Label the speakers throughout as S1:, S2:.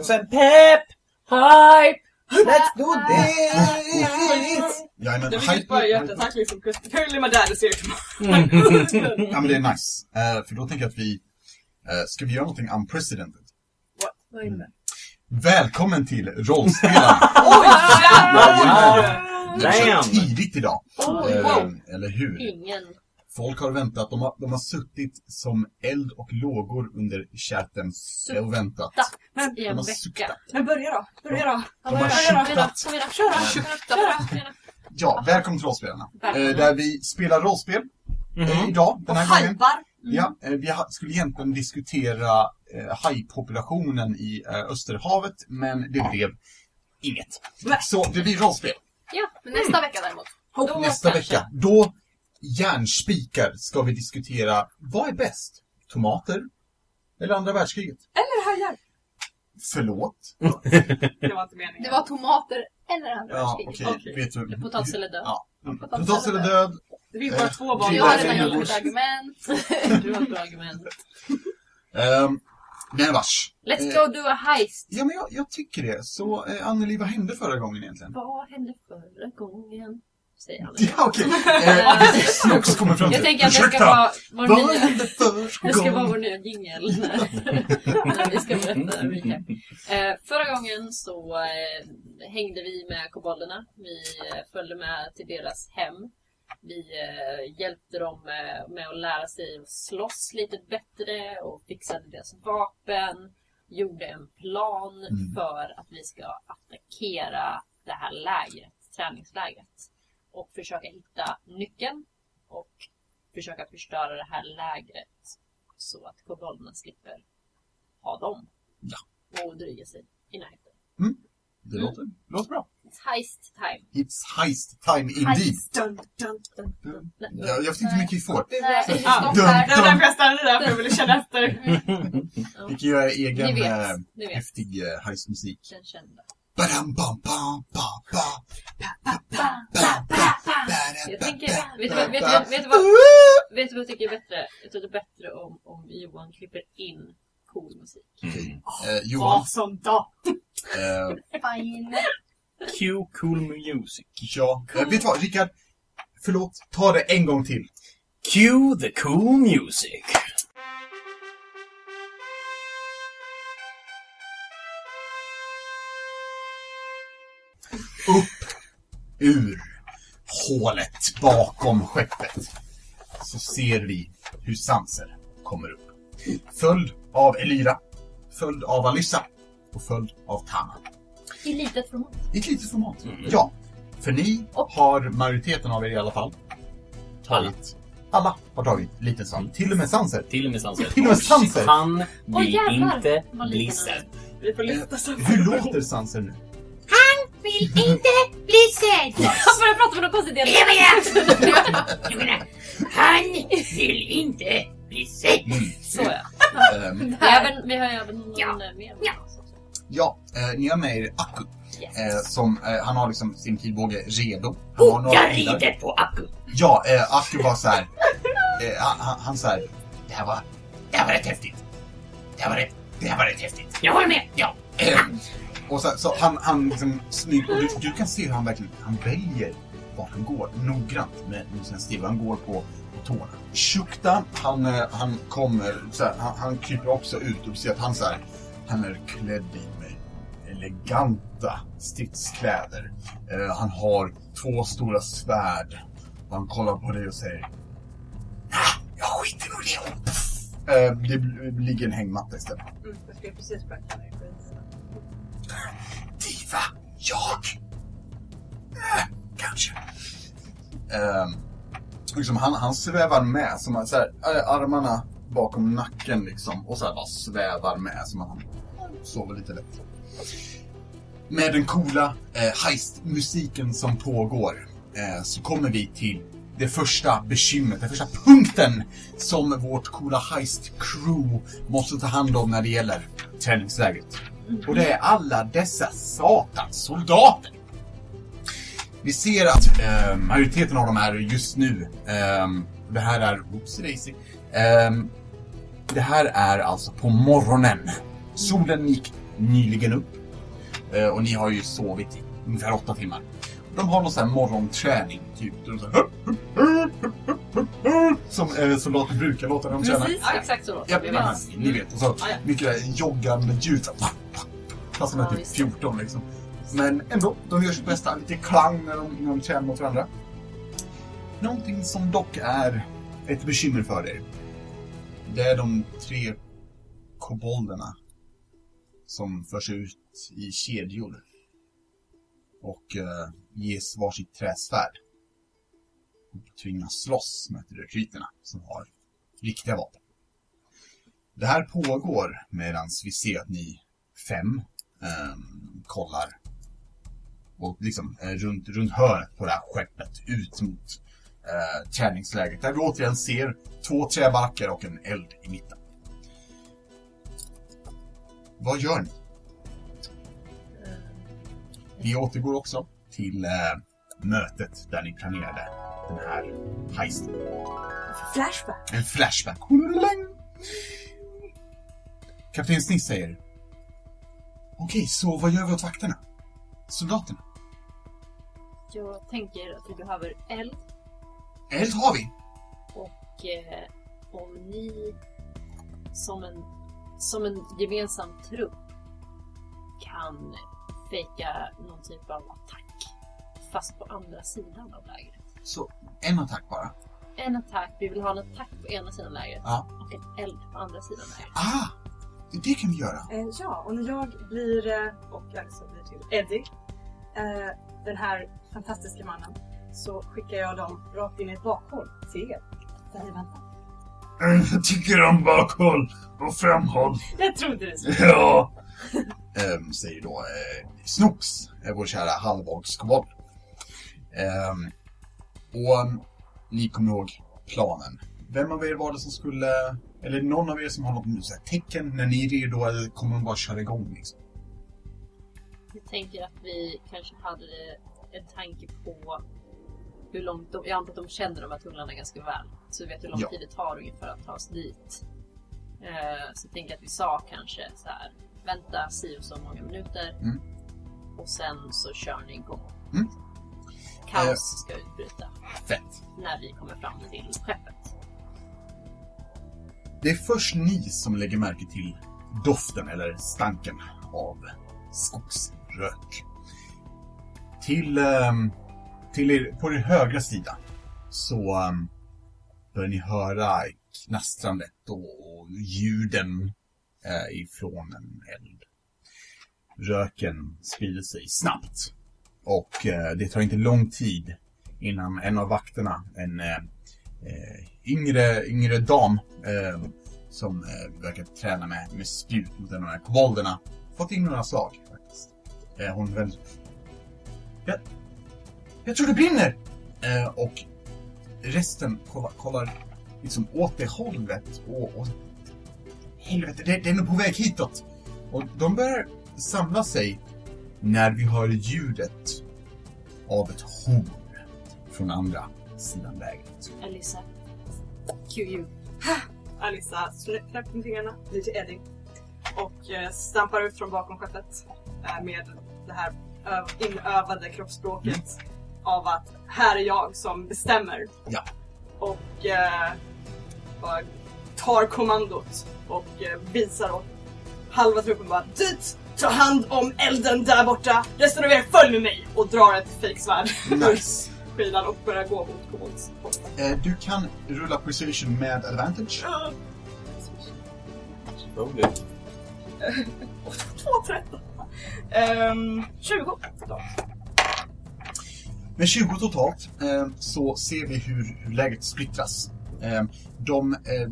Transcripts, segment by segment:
S1: Och sen pep, hype, let's do this!
S2: Ja, men,
S3: Det
S2: hype-
S3: var ju bara hjärtattack liksom. 'Cause Apparently my dad is here tomorrow.
S2: Ja, men det är nice. Eh, för då tänker jag att vi... eh, ska vi göra någonting unprecedented?
S1: Vad är det?
S2: Välkommen till rollspelaren!
S3: Oj jävlar!
S2: Det är så
S4: Damn!
S2: tidigt idag.
S3: Oj,
S2: Eh,
S3: wow.
S2: eller hur?
S5: Ingen.
S2: Folk har väntat. De har, de har suttit som eld och lågor under chatten och väntat.
S5: I
S2: De
S5: en
S2: har
S5: vecka.
S2: suktat.
S3: Men börja då. Börja då.
S2: De har
S5: Fredag,
S2: tjuktat.
S5: fredag, köra, köra, köra.
S2: Ja, välkommen till Rollspelarna. Eh,
S5: Välkommen.
S2: där vi spelar rollspel eh,
S4: Mhm.
S2: idag, den
S3: Och
S2: här gången.
S3: halvar.
S2: Ja, eh, vi ha- skulle egentligen diskutera eh, hajpopulationen i eh, Österhavet, men det blev inget.
S3: Nej.
S2: Så det blir rollspel.
S5: Ja, men nästa vecka däremot. Då
S2: Nästa
S5: kanske.
S2: vecka, då järnspikar ska vi diskutera vad är bäst? Tomater? Eller andra världskriget?
S3: Eller hajar.
S2: Förlåt?
S3: Det var inte meningen.
S5: Det var tomater eller andra
S2: Ja,
S5: världskriget.
S2: okej.
S3: Okej.
S2: Vet du?
S5: Potatis eller död.
S2: Ja. Potatis eller död?
S3: Det finns bara
S2: Eh,
S3: två
S2: vi
S5: Jag har redan
S2: Ingen
S5: gjort
S3: banor.
S2: bors.
S5: mitt argument. Du har ett bra argument.
S2: Ehm, men vars.
S5: Let's
S2: Eh,
S5: go do a heist.
S2: Ja, men jag, jag tycker det. Så eh, Anneli, vad hände förra gången egentligen?
S5: Vad hände förra gången? Säger han.
S2: Ja, okej. Eh, det är Snox kommer fram till.
S5: Jag tänker att det ska
S2: Ursäkta,
S5: vara vår
S2: Vad
S5: nya...
S2: hände
S5: Det ska
S2: förra
S5: vara
S2: gången?
S5: vår nya jingel när, när vi ska berätta recap. Eh, förra gången så eh, hängde vi med kobolderna. Vi eh, följde med till deras hem. Vi eh, hjälpte dem eh, med att lära sig att slåss lite bättre och fixade deras vapen. Gjorde en plan
S2: Mm.
S5: för att vi ska attackera det här lägret, träningslägret. Och försöka hitta nyckeln och försöka förstöra det här lägret så att kobolderna slipper ha dem.
S2: Ja.
S5: Och dryga sig i närheten.
S2: Det låter, det låter bra.
S5: It's heist time.
S2: It's heist time indeed.
S3: Dun, dun, dun.
S5: Nej.
S2: Jag, jag vet inte hur mycket vi får.
S5: Nej,
S3: så-
S5: vi
S3: Ah,
S5: stoppar.
S3: Det var därför jag stannade där, för jag ville känna efter.
S2: Vi kan göra
S5: Ni
S2: egen eh,
S5: vet, ni vet.
S2: häftig eh, heistmusik.
S5: Den kända.
S2: Badam, bam, bam, bam, bam.
S5: Jag tänker, vet du, vad- vet, du, vet, du vad, vet du vad jag tycker är bättre? Jag tror det är bättre om, om Johan klipper in cool musik.
S2: Eh, Johan,
S3: Vad som då?
S2: eh,
S5: Fine.
S4: Q Cool Music.
S2: ja. Eh, vet du vad, Rickard? Förlåt, ta det en gång till.
S4: Cue the cool music.
S2: upp ur hålet bakom skeppet så ser vi hur Sanser kommer upp. Följd av Elira, följd av Alyssa och följd av Tana.
S5: I litet format.
S2: I ett litet format. Ja, för ni har majoriteten av er i alla fall tagit. Alla har tagit liten svamp. Till och med Sanser.
S4: Till och med Sanser.
S2: Till och med Sanser.
S4: Han
S5: Åh,
S4: blir
S5: jävlar.
S4: inte
S5: Vad liten han
S4: blizzard.
S5: är.
S3: Vi får lista så. Mm.
S2: Hur låter Sanser nu?
S6: vill inte bli sedd.
S5: Han börjar prata med någon konstig dialekt.
S6: Jag menar, jag menar, han vill inte bli sedd.
S5: Så ja.
S2: Ehm,
S5: Vi har även, vi har även någon eh,
S6: Ja.
S5: mer.
S6: Ja.
S2: Ja, eh, ni har med er Akku.
S5: Yes.
S2: Eh, som, eh, han har liksom sin pilbåge redo. Han har
S6: Och jag
S2: pilar.
S6: rider på Aku.
S2: Ja, eh, Akku var så här. Eh, han, han- han så här. Det här var, det här var rätt häftigt. Det här var rätt, det här var rätt häftigt.
S6: Jag håller med. Ja.
S2: Eh, och så, så han, han liksom smyger, och du, du kan se hur han verkligen, han väljer vart han går noggrant med, med sin stil. Han går på, på tårna. Shukta, han, eh, han kommer, så här, han, han kryper också ut och du ser att han så här, han är klädd i med eleganta stridskläder. Eh, han har två stora svärd. Och han kollar på dig och säger "Nej, jag skiter nog i det. Eh, det bl- ligger en hängmatta istället.
S3: Mm, Jag skulle precis börja kalla dig för
S2: Diva, jag? Äh, kanske. Ehm, liksom han, han svävar med, som att så här, äh, armarna bakom nacken liksom. Och så här bara svävar med, som att han sover lite lätt. Med den coola eh, heistmusiken som pågår eh, så kommer vi till det första bekymret, den första punkten som vårt coola heist-crew måste ta hand om när det gäller träningslägret. Och det är alla dessa satans soldater. Vi ser att eh, majoriteten av dem är just nu, ehm, det här är, oops, daisy, ehm, det här är alltså på morgonen. Solen gick nyligen upp. Eh, och ni har ju sovit i ungefär åtta timmar. De har någon sån här morgonträning, typ. De så här, hup, hup, hup, hup, hup, hup, hup, som eh, soldater brukar låta dem träna.
S5: Precis, exakt så låter
S2: Ja,
S5: det.
S2: men, ni vet. Och så
S3: ja.
S2: mycket joggande ljud. så här, pa, pa. Fast de är
S5: Ja,
S2: typ
S5: just det.
S2: 14 liksom. Men ändå, de gör sitt bästa. Lite klang när de, när de tränar mot varandra. Någonting som dock är ett bekymmer för er. Det är de tre kobolderna som förs ut i kedjor och eh, ges varsitt träsvärd. Och tvingas slåss med rekryterna som har riktiga vapen. Det här pågår medan vi ser att ni fem ehm, kollar och liksom eh, runt, runt hörnet på det här skeppet ut mot eh, träningsläget där vi återigen ser två träbackar och en eld i mitten. Vad gör ni? Ni återgår också till eh, mötet där ni planerade den här heisten.
S1: Flashback.
S2: En flashback. Kapten Sniss säger Okej, så vad gör vi åt vakterna? Soldaterna?
S5: Jag tänker att vi behöver eld
S2: Eld har vi!
S5: och eh, om ni som en, som en gemensam trupp kan fejka någon typ av attack fast på andra sidan av lägret.
S2: Så en attack bara.
S5: En attack, vi vill ha en attack på ena sidan lägret
S2: Ja.
S5: och en eld på andra sidan lägret.
S2: Ah! Det kan vi göra.
S7: Eh, ja, och när jag blir, eh, och Alissa blir till Eddie, eh, den här fantastiska mannen, så skickar jag dem rakt in i ett bakhåll till er. Där ni väntar.
S2: Jag tycker om bakhåll och framhåll.
S7: Jag trodde det skulle
S2: Ja! Ehm, säger då eh, Snox, eh, vår kära halvvåldskobold. Ehm, och mm, ni kommer ihåg planen. Vem av er var det som skulle, eller någon av er som har något nu, så här, tecken när ni är redo eller kommer de bara köra igång liksom?
S5: Jag tänker att vi kanske hade en tanke på hur långt de, jag antar att de känner de här tunnlarna ganska väl. Så vi vet hur lång
S2: Ja.
S5: tid det tar ungefär att ta oss dit. Eh, så jag tänker att vi sa kanske så här, vänta si och så många minuter.
S2: Mm.
S5: Och sen så kör ni igång.
S2: Mm. Eh.
S5: Kaos ska utbryta
S2: Fett.
S5: när vi kommer fram till skeppet.
S2: Det är först ni som lägger märke till doften eller stanken av skogsrök. Till, ehm, till er, på er högra sida så ehm, börjar ni höra knastrandet och, och ljuden eh, ifrån en eld. Röken sprider sig snabbt och eh, det tar inte lång tid innan en av vakterna, en eh, eh, yngre, yngre dam eh, som eh, verkar träna med, med spjut mot en av de här kobolderna. Fått in några slag faktiskt. Eh, hon vänder jag, jag tror det brinner! Eh, och resten kollar, kollar liksom åt det hållet och, och helvete, det, det är nog på väg hitåt! Och de börjar samla sig när vi hör ljudet av ett horn från andra sidan lägret.
S5: Elisa, QU.
S7: Alissa snä- knäpper med fingrarna, blir till Eddie och eh, stampar ut från bakom skeppet eh, med det här ö- inövade kroppsspråket av att här är jag som bestämmer.
S2: Ja.
S7: Och eh, bara tar kommandot och eh, visar åt halva truppen bara dit! Ta hand om elden där borta! Resten av er följ med mig! Och drar ett fejksvärd ur
S2: Nice!
S7: skidan och börjar gå mot kobolds.
S2: Eh, du kan rulla precision med advantage.
S4: Oh, det.
S7: 2.13. Ehm, 20.
S2: Med 20 totalt eh, så ser vi hur, hur läget splittras. Eh, de eh,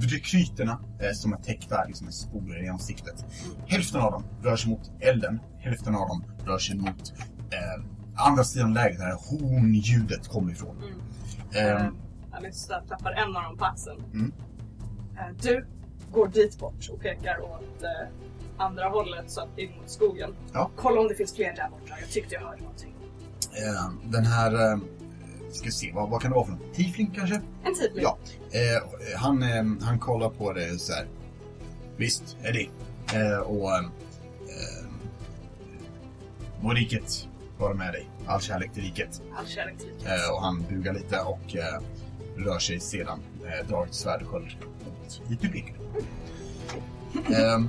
S2: rekryterna eh, som är täckta liksom, med sporer i ansiktet. Hälften av dem rör sig mot elden. Hälften av dem rör sig mot eh, andra sidan läget där hornljudet kommer ifrån.
S7: Mm.
S2: Eh,
S7: Alice tappar en av dem på axeln.
S2: Mm.
S7: Eh, Du går dit bort och pekar åt eh, andra hållet, så att in mot skogen.
S2: Ja.
S7: Kolla om det finns fler där borta. Jag tyckte jag hörde någonting.
S2: eh, den här... Eh, ska se, vad, vad kan det vara för något? Tiefling kanske?
S7: En tidlig.
S2: eh, Ja. Eh, han, eh, han kollar på det så här. Visst, Eddie. Eh, och eh, eh, må riket vara med dig. All kärlek till riket.
S7: All kärlek till liket.
S2: Eh, och han bugar lite och eh, rör sig sedan. Eh, drar ett svärdsköld mot dit du blickar. Ehm,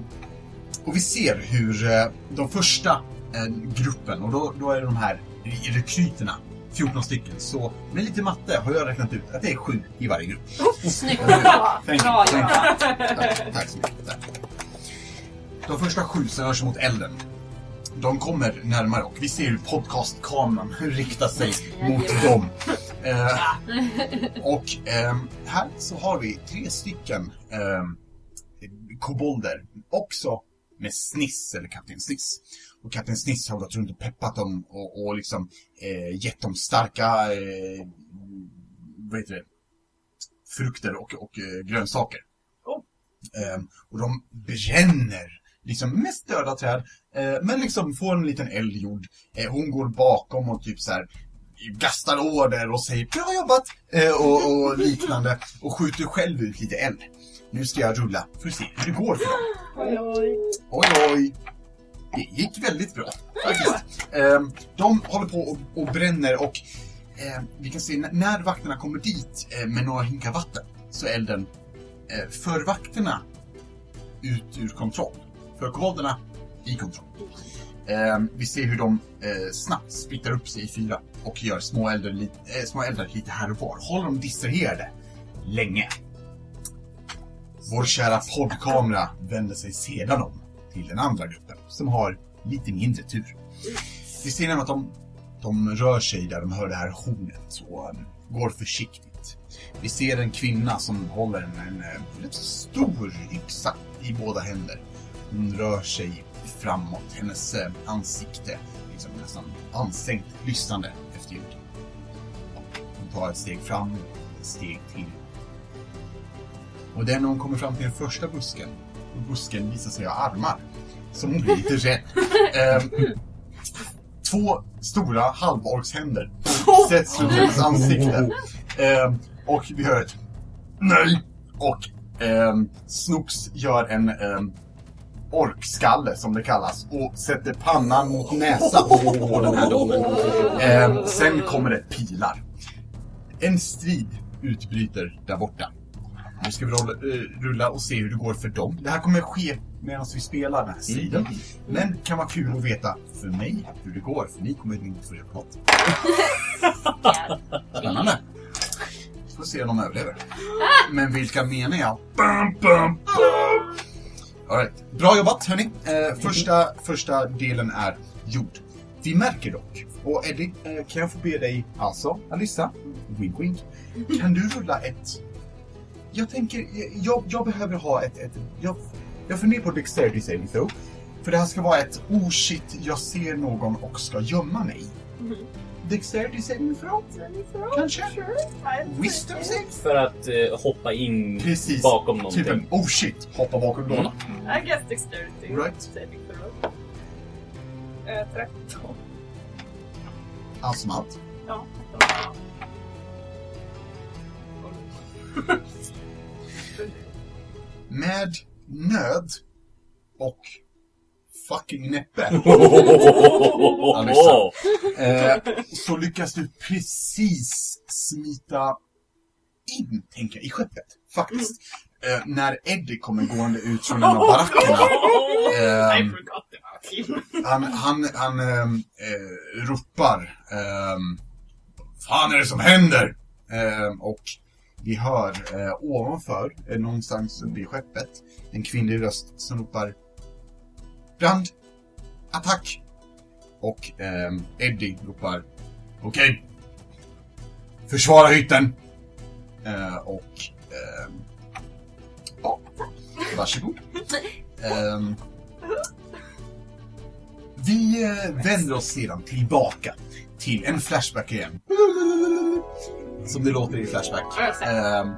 S2: och vi ser hur eh, de första eh, gruppen, och då, då är det de här rekryterna, 14 stycken. Så med lite matte har jag räknat ut att det är sju i varje grupp.
S5: Snyggt!
S2: Eller hur?
S5: Bra!
S2: Thank you,
S5: Bra
S2: thank you.
S5: jobbat!
S2: Tack, tack så mycket. Tack. De första sju som rör sig mot elden, de kommer närmare och vi ser hur podcastkameran riktar sig mot dem. Eh, och ehm, här så har vi tre stycken ehm, kobolder, också med Sniss, eller Kapten Sniss. Och Kapten Sniss har gått runt och peppat dem och, och liksom eh, gett dem starka, eh, vad heter det, frukter och, och eh, grönsaker. Ehm, och de bränner, liksom mest döda träd, eh, men liksom får en liten eld gjord. Eh, hon går bakom och typ så här gastar order och säger bra jobbat eh, och, och liknande och skjuter själv ut lite eld. Nu ska jag rulla för att se hur det går för dem.
S5: Oj, oj.
S2: Oj, oj. Det gick väldigt bra faktiskt. Ehm, de håller på och, och bränner och eh, vi kan se n- när vakterna kommer dit eh, med några hinkar vatten så är elden eh, för vakterna ut ur kontroll. För kobolderna i kontroll. Ehm, vi ser hur de eh, snabbt splittar upp sig i fyra och gör små eldar, li- eh, små eldar lite här och var. Håller dem distraherade länge. Vår kära poddkamera vänder sig sedan om till den andra gruppen som har lite mindre tur. Vi ser nämligen att de, de rör sig där de hör det här hornet och um, går försiktigt. Vi ser en kvinna som håller en, en, eh, rätt stor yxa i båda händer. Hon rör sig framåt, hennes eh, ansikte liksom nästan ansänkt, lyssnande efter ljud. Hon tar ett steg fram, ett steg till. Och det är när hon kommer fram till den första busken och busken visar sig ha armar. Så hon blir lite rädd. Ehm, två stora halvorkshänder sätts runt hennes ansikte. Ehm, och vi hör ett nej. Och um, Snooks gör en ehm, orkskalle som det kallas och sätter pannan mot näsan på den här domen. Ehm, sen kommer det pilar. En strid utbryter där borta. Nu ska vi rolla, eh, rulla och se hur det går för dem. Det här kommer ske medan vi spelar den här striden. Men det kan vara kul att veta för mig hur det går, för ni kommer inte få reda på något. Spännande! Får se om de överlever. Men vilka menar jag? Bam, bam, bam. All right. Bra jobbat hörni! Eh, första, första delen är gjord. Vi märker dock, och Eddie, eh, kan jag få be dig, alltså Alissa, wink wink, kan du rulla ett jag tänker, jag- jag, jag behöver ha ett, ett jag, jag funderar på dexterity saving throw. För det här ska vara ett oh shit, jag ser någon och ska gömma mig. Dexterity saving throw? Kanske? Wisdom saving?
S4: För att eh, hoppa in
S2: Precis.
S4: bakom
S2: Typ
S4: någonting. Mm.
S2: en oh shit, hoppa bakom lådan.
S7: I guess dexterity.
S2: Right.
S7: Saving throw. Eh, 13.
S2: Allt som allt.
S7: Ja, 13.
S2: Med nöd och fucking näppe. Alissa. Eh, så lyckas du precis smita in, tänker jag, i skeppet. Faktiskt.
S4: Mm.
S2: Eh, när Eddie kommer gående ut från en av barackerna.
S7: I
S2: Ehm,
S7: forgot about him.
S2: han han, han ehm, eh, ropar. ehm, Fan är det som händer? Ehm, och vi hör eh, ovanför, eh, någonstans vid skeppet, en kvinnlig röst som ropar. Brand! Attack! Och ehm, Eddie ropar. Okej! Försvara hytten! Eh, och... ehm, ja, varsågod. Ehm, vi eh, vänder oss sedan tillbaka till en flashback igen. Som det låter i Flashback. Ehm,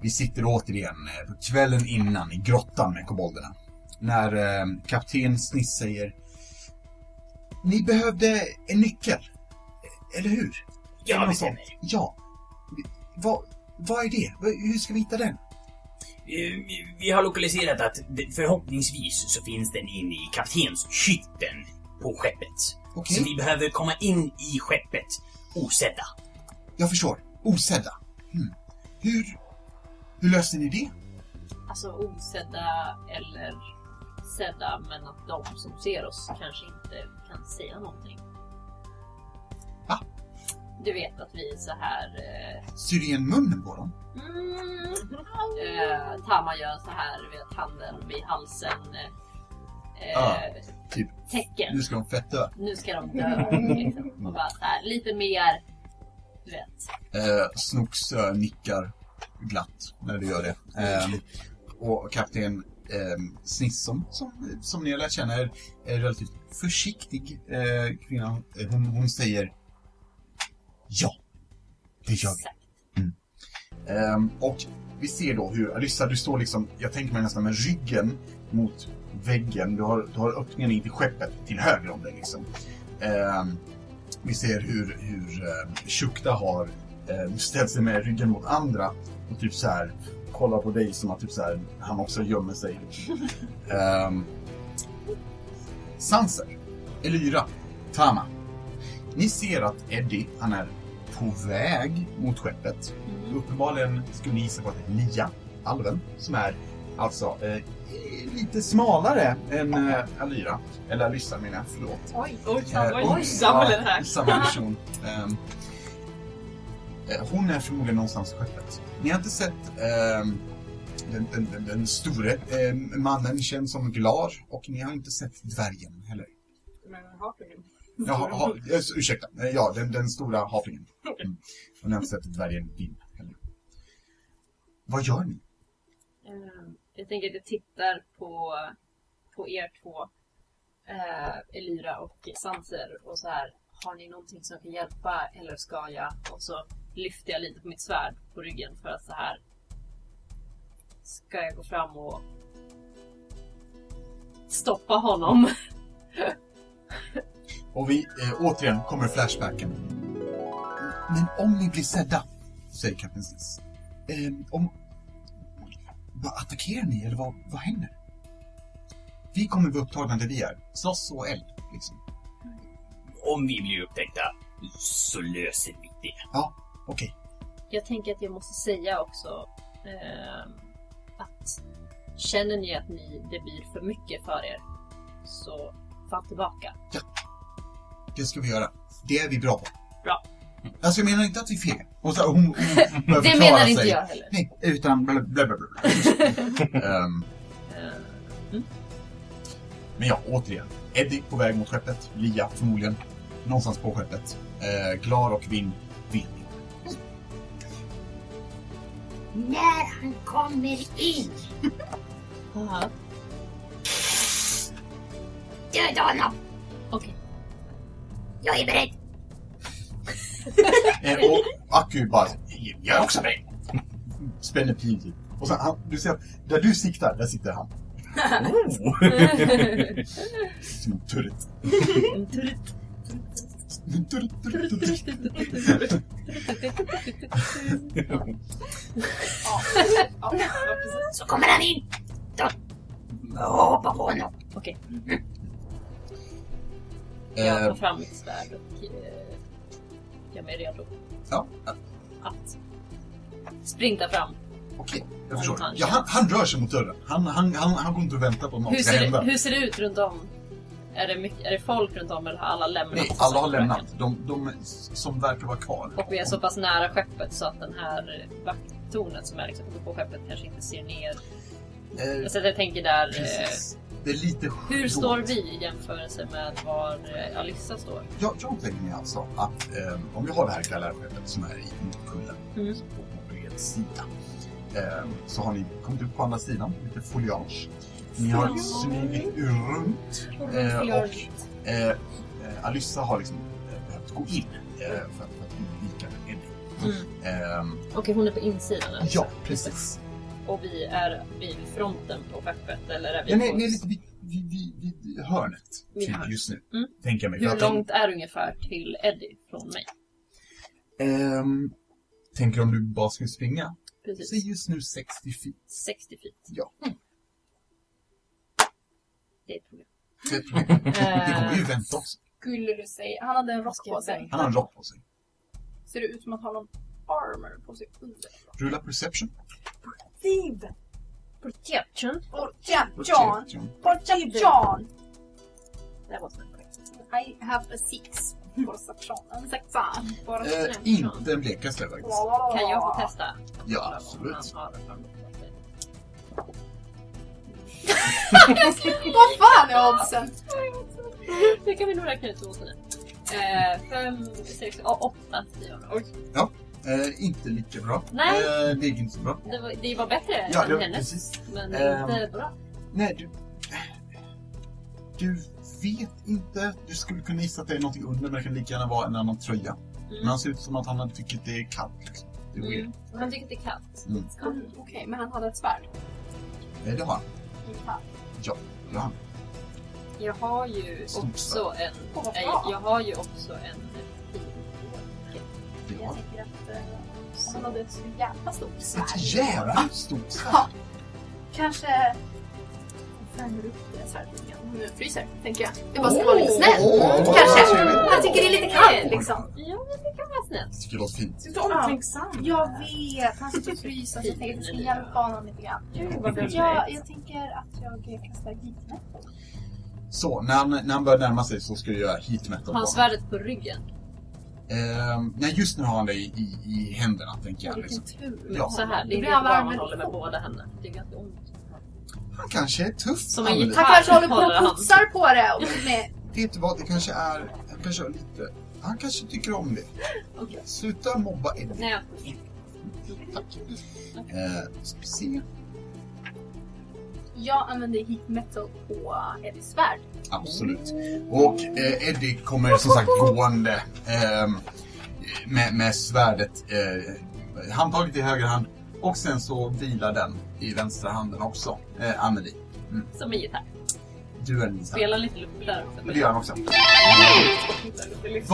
S2: vi sitter återigen eh, på kvällen innan i grottan med kobolderna. När eh, kapten Sniss säger Ni behövde en nyckel, eller hur?
S4: Ja,
S8: eh,
S2: Eller något
S4: vi stämmer.
S2: sånt. Ja. Vi- Vad, vad är det? Vad- Hur ska vi hitta den?
S8: Eh, vi- Vi har lokaliserat att det- förhoppningsvis så finns den inne i kaptenshytten på skeppet.
S2: Okej,
S8: Så vi behöver komma in i skeppet osedda.
S2: jag förstår. Osedda. Hmm. Hur, hur löste ni det?
S5: Alltså osedda eller sedda men att de som ser oss kanske inte kan säga någonting.
S2: Va?
S5: Du vet att vi är så här... Eh,
S2: Syr igen munnen på dem?
S5: mm, eh, Tama gör så här, du vet handen vid halsen. Eh,
S2: Ah,
S5: eh,
S2: typ.
S5: Tecken.
S2: Nu ska de fetta.
S5: Nu ska de dö. Liksom. Och bara så här, lite mer... Du vet.
S2: Eh, Snooks eh, nickar glatt när du gör det. Ehm, och kapten eh, Snissom, som, som ni har lärt känna, är en relativt försiktig eh, kvinna. Eh, Hon, hon säger ja, det gör vi.
S5: Exakt.
S2: Ehm, och vi ser då hur Alyssa, du står liksom, jag tänker mig nästan med ryggen mot väggen. Du har, du har öppningen in till skeppet till höger om dig liksom. Ehm, vi ser hur, hur eh, Shukta har eh, ställt sig med ryggen mot andra och typ så här kollar på dig som att typ så här, han också gömmer sig. Ehm, Sanser, Elyra, Tama. Ni ser att Eddie, han är på väg mot skeppet.
S5: Mm.
S2: Uppenbarligen skulle ni gissa på att det är Lia, alven, som är alltså eh, lite smalare än eh, Alyra. Eller Alyssa menar jag, förlåt.
S7: Oj, oj,
S2: Eh,
S7: oj,
S2: och-
S7: oj. Samuel här.
S2: Ja, samma person. Ehm, eh, hon är förmodligen någonstans i skeppet. Ni har inte sett ehm, den, den, den, den store ehm, mannen känd som Glar och ni har inte sett dvärgen heller.
S7: Men Hakungen.
S2: Ja, ha, ha, eh, ursäkta, Eh, ja, den, den stora havringen. Mm. Och ni har inte sett dvärgen Vin heller. Vad gör ni?
S5: Eh, jag tänker att jag tittar på, på er två, eh, Elira och Sanser och så här. Har ni någonting som kan hjälpa eller ska jag? Och så lyfter jag lite på mitt svärd på ryggen för att så här. Ska jag gå fram och stoppa honom?
S2: Och vi, eh, återigen kommer flashbacken. Men om ni blir sedda, säger kapten Sniss. Eh, om... Vad attackerar ni eller vad, vad händer? Vi kommer vara upptagna där vi är. Slåss och eld, liksom.
S8: Om vi blir upptäckta så löser vi det.
S2: Okej.
S5: Jag tänker att jag måste säga också ehm, att känner ni att ni, det blir för mycket för er så fall tillbaka.
S2: Det ska vi göra. Det är vi bra på.
S5: Bra.
S2: Alltså jag menar inte att vi är fega. Och så, hon, hon börjar
S5: Det
S2: förklara
S5: menar inte
S2: sig.
S5: jag heller.
S2: Nej, utan bla bla bla. bla. Ehm,
S5: Eh,
S2: Men ja, återigen. Eddie på väg mot skeppet. Lia förmodligen. Någonstans på skeppet. Eh, Glar och Vin vet inte.
S6: När han kommer in,
S5: Aha,
S6: döda honom.
S5: Okej.
S6: Jag är beredd.
S2: Eh, och Aku bara, jag är också beredd. Spänner pil typ. Och sen, han, du ser, att där du siktar, där sitter han. Som en turret. En turret. turret, turret, turret.
S3: Ah,
S7: Ja, ja, precis.
S6: Så kommer han in. Då hoppar på honom.
S5: jag tar
S2: Eh,
S5: fram mitt svärd och eh, gör mig redo
S2: ja,
S5: att sprinta fram.
S2: okej. Jag förstår. Ja, han, han rör sig mot dörren. Han, han, han, han går inte och väntar på att
S5: Hur
S2: något ska
S5: ser, det,
S2: hända.
S5: hur ser det ut runt om? Är det, mycket, är det folk runt om eller har alla lämnat?
S2: Nej, alla har lämnat. De, de som verkar vara kvar.
S5: Och vi är så pass nära skeppet så att den här vakttornet som är liksom uppe på skeppet kanske inte ser ner.
S2: Eh,
S5: Så att jag tänker där, eh,
S2: precis. Det är lite
S5: hur
S2: dåligt.
S5: står vi i jämförelse med var eh, Alissa står?
S2: Jag, jag tänker mig alltså att eh, om vi har det här galärskeppet som är i Nordkullen
S5: Mm.
S2: på på bred sida eh, så har ni kommit upp på andra sidan, lite foliage. Ni har smugit ur runt eh, och eh, eh, Alyssa har liksom eh, behövt gå in eh, för, att, för att undvika Eddie. Mm. Eh,
S5: Okej, hon är på insidan. alltså? eller?
S9: Alltså,
S2: ja, precis.
S5: Och vi är vid fronten på skeppet eller är vi
S2: Ja, ni,
S5: på...
S2: ni är lite vid, vid, vid, vid hörnet
S5: Vid
S2: typ,
S5: hörnet.
S2: just nu,
S5: Mm.
S2: tänker jag mig. För
S5: Hur
S2: att de-
S5: långt är det ungefär till Eddie från mig?
S2: Ehm, tänker om du bara skulle springa?
S5: Precis.
S2: Så just nu 60 feet.
S5: 60 feet.
S2: Ja.
S5: Mm. Det är ett problem.
S2: Det är ett problem. Vi kommer ju
S5: Eh,
S2: vänta oss.
S9: Skulle du säga. Han hade en rock på sig.
S2: Han har en rock på sig.
S9: Ser det ut som att han har någon armor på sig under?
S2: Rulla perception.
S7: Thieve!
S9: Protection.
S6: Borta John! Borta John!
S5: Där var snabbt.
S9: I have a six. Perception. En sexa. Bara
S2: Eh,
S9: strength.
S2: inte en blekaste faktiskt.
S5: Kan jag få testa?
S2: Ja,
S5: Om han
S2: absolut.
S5: har armor på sig?
S9: Vad fan är oddsen?
S5: Det kan vi nog räkna ut åt henne. Eh, fem, sex, ja, åtta säger jag då.
S2: Eh, inte lika bra.
S5: Nej.
S2: Eh, det gick inte så bra.
S5: Det var, det var bättre
S2: Ja,
S5: än
S2: det,
S5: hennes,
S2: precis.
S5: men
S2: Ehm.
S5: inte bra.
S2: Nej, du... Du vet inte. Du skulle kunna gissa att det är någonting under, men det kan lika gärna vara en annan tröja. Men han ser ut som att han hade tycker att det är kallt. Liksom. Det är weird.
S5: Mm. Han tycker att det är kallt.
S2: Mm.
S5: Mm.
S9: Okej, men han hade ett svärd.
S2: Eh, Det har han.
S9: Ja.
S2: Ja, det har han.
S5: Jag har ju
S2: Stort
S5: också en...
S9: Åh, vad
S5: nej,
S9: bra.
S5: jag har ju också en...
S2: Det har
S9: Jag
S2: han.
S9: tänker att eh, han hade ett så jävla stort svärd.
S2: Ett jävligt stort svärd.
S9: Ja. Kanske värmer upp det svärdet lite grann. Nu fryser, tänker jag. Det bara ska vara lite snällt.
S2: Åh, vad
S9: Kanske.
S2: trevligt.
S9: Han tycker det är lite kallt liksom.
S5: Ja, men det kan vara snällt.
S2: Jag tycker det låter fint.
S7: Du är
S3: er
S7: så omtänksam.
S9: Jag vet, han sitter och fryser så jag tänker att jag ska hjälpa honom lite grann. Jag, jag tänker att jag kastar gitnet.
S2: Så, när han, när han börjar närma sig så ska jag göra heat metal. på
S5: Har han
S2: honom.
S5: svärdet på ryggen?
S2: Ehm, nej, just nu har han det i, i, i händerna, tänker jag. Liksom.
S9: Vilken tur.
S2: Ja.
S5: Så här, det är
S9: Blir
S5: inte
S9: han
S5: bara om han
S9: varm?
S5: håller med båda händerna. Det är ganska ont.
S2: Han kanske är tuff.
S5: Som en
S2: Anneli.
S5: gitarr.
S9: Han kanske håller på
S5: Håller
S9: och
S5: han.
S9: putsar på det. Och med,
S2: Vet du vad, det kanske är... Han kanske har lite... Han kanske tycker om det.
S5: Okej.
S2: Sluta mobba Eddie.
S5: Nej,
S2: Tack. Eh, ska vi se.
S9: jag använder heat metal på Eddies svärd.
S2: Absolut. Och eh, Eddie kommer som sagt gående ehm, med, med svärdet. Eh, handtaget i höger hand. Och sen så vilar den i vänstra handen också. Eh, Anneli,
S5: som en gitarr.
S2: du är en gitarr.
S5: Spelar lite luftlöv också.
S2: Och Det gör han också.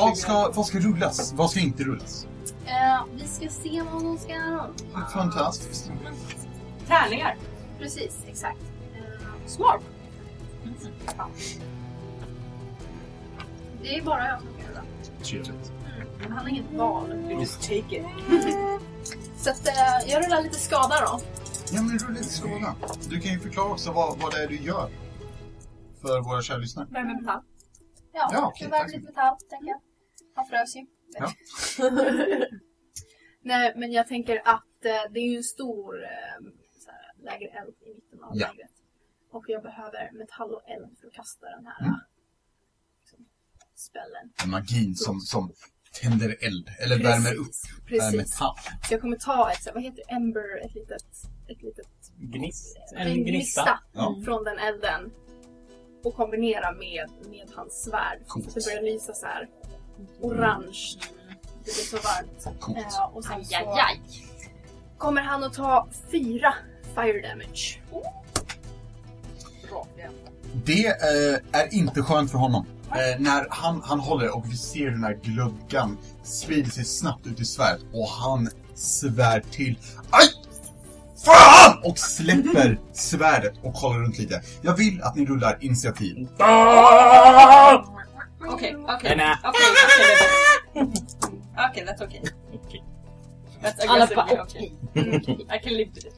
S2: Vad ska, vad ska rullas? Vad ska inte rullas?
S9: Eh, vi ska se vad hon ska göra.
S2: Fantastiskt.
S7: Tärningar.
S9: Precis, exakt. Eh, smart. Ja. Det är bara jag som kan göra.
S2: Trevligt.
S9: Men Han har inget val.
S7: You just take it.
S9: Så att, eh, jag rullar lite skada då.
S2: Ja men rulla lite skåda. Du kan ju förklara också vad, vad det är du gör. För våra kära lyssnare.
S9: Värmer metall. Ja,
S2: Ja, okej,
S9: jag
S2: tack
S9: värmer
S2: så
S9: lite
S2: mycket.
S9: metall, tänker jag. Han frös ju.
S2: Ja.
S9: Nej, men jag tänker att eh, det är ju en stor eh, så här, lägereld i mitten av
S2: Ja.
S9: lägret. Och jag behöver metall och eld för att kasta den här
S2: Mm.
S9: eh, liksom, spellen.
S2: Magin som, som tänder eld. Eller värmer upp eh,
S9: Precis.
S2: metall.
S9: Så jag kommer ta ett, så här, vad heter det, Ember, ett litet, ett litet
S4: Gnist.
S9: en gnista
S2: Ja.
S9: från den elden och kombinera med, med hans svärd.
S2: Coolt. Mm.
S9: Så det börjar lysa så här orange. Det blir så varmt.
S2: Coolt.
S9: Eh, och sen
S5: Aj,
S9: så
S5: aj, aj.
S9: kommer han att ta fyra fire damage.
S2: Det eh, är inte skönt för honom. Eh, när han, han håller och vi ser hur den här glödgan sprider sig snabbt ut i svärdet och han svär till. Aj! Fan! Och släpper svärdet och kollar runt lite. Jag vill att ni rullar initiativ.
S3: Okej,
S8: Den
S3: okej. Okej,
S8: är...
S3: okej, okej. Okej, that's okay. That's
S5: Alla
S3: aggressive,
S5: bara
S3: yeah, okay.
S5: okej.
S3: I can live with it.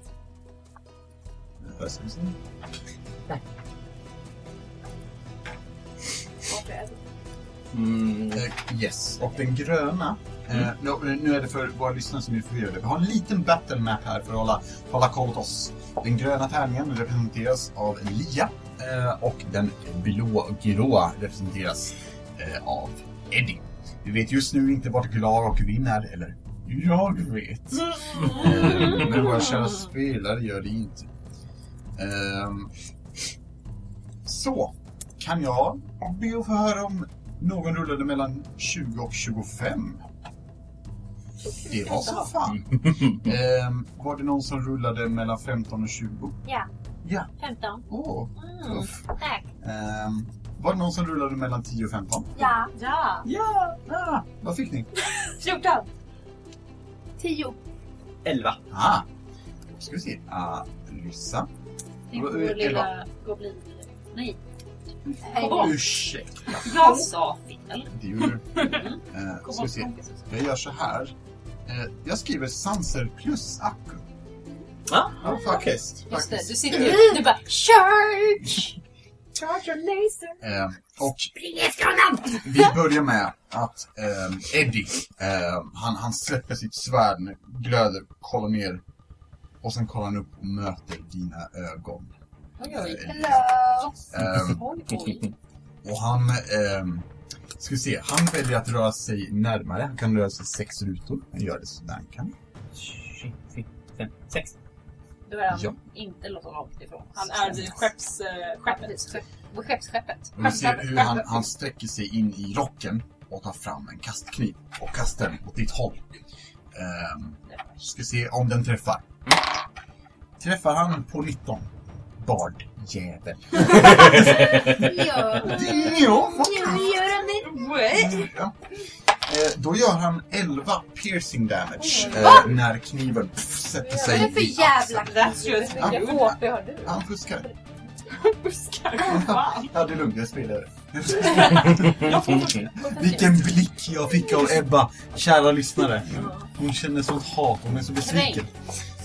S2: Mm.
S4: Mm.
S2: Eh, yes. Och den gröna. Eh, nu, nu är det för våra lyssnare som är förvirrade. Vi har en liten battle map här för att hålla, hålla koll åt oss. Den gröna tärningen representeras av Lia. Eh, och den blågråa representeras eh, av Eddie. Vi vet just nu inte vart Glar och Vinn är, eller jag vet. Eh, men våra kära spelare gör det inte. Ehm, så, kan jag be att få höra om någon rullade mellan 20 och 25. Det var så fan. Ehm, var det någon som rullade mellan 15 och 20?
S5: Ja.
S2: Ja,
S5: 15.
S2: åh,
S5: Mm.
S2: tuff.
S5: Tack.
S2: Ehm, var det någon som rullade mellan 10 och 15?
S9: Ja.
S7: Ja!
S2: Ja! Ah, vad fick ni?
S7: 14!
S9: Tio.
S4: Elva.
S2: Ah, ska vi se. Ah, Lyssa.
S5: Det är
S2: Vad-
S5: vår
S2: elva.
S5: lilla goblin... Nej,
S9: Nej,
S5: Kobold.
S2: Ursäkta.
S5: jag sa fel.
S2: Det gjorde du. Eh, ska vi se.
S5: Koboldkompis.
S2: Jag gör så här. Eh, jag skriver sanser plus akku.
S4: Ah,
S2: ja, faktiskt.
S5: Just det,
S2: faktiskt.
S5: du sitter ju... Du bara church!
S2: Eh, och
S6: Spring efter honom!
S2: vi börjar med att ehm, Eddie, ehm, han, han släpper sitt svärd, nu, glöder, kollar ner och sen kollar han upp och möter dina ögon.
S5: Oj, oj.
S9: Hello!
S2: Ehm,
S5: Oj, oj.
S2: och han, ehm, ska vi se, han väljer att röra sig närmare. Han kan röra sig sex rutor. Han gör det så där han kan.
S4: fem, sex.
S5: Då är han
S2: Ja.
S5: inte låter långt ifrån.
S7: Han
S3: er
S7: är vid skepps,
S3: uh,
S7: eh, skeppet.
S5: Precis, skepp- Skeppsskeppet.
S2: Och vi ser hur han, han sträcker sig in i rocken och tar fram en kastkniv och kastar den åt ditt håll. Ehm, ska se om den träffar. Träffar han på 19? Bardjävel.
S9: Ja,
S2: Ja,
S9: nu gör han det!
S2: ja. Eh, Då gör han 11 piercing damage eh, när kniven pff, sätter
S9: Vad är
S2: sig
S9: det för
S2: i
S9: jävla
S2: axeln.
S7: That's just
S2: Ja.
S7: you.
S5: HP har du?
S2: Han fuskar.
S7: Buskar. Fan.
S2: Ja, det är lugnt. Jag spelar.
S4: Jag får
S2: Vilken blick jag fick av Ebba, kära lyssnare. Hon känner sånt hat, hon är så besviken.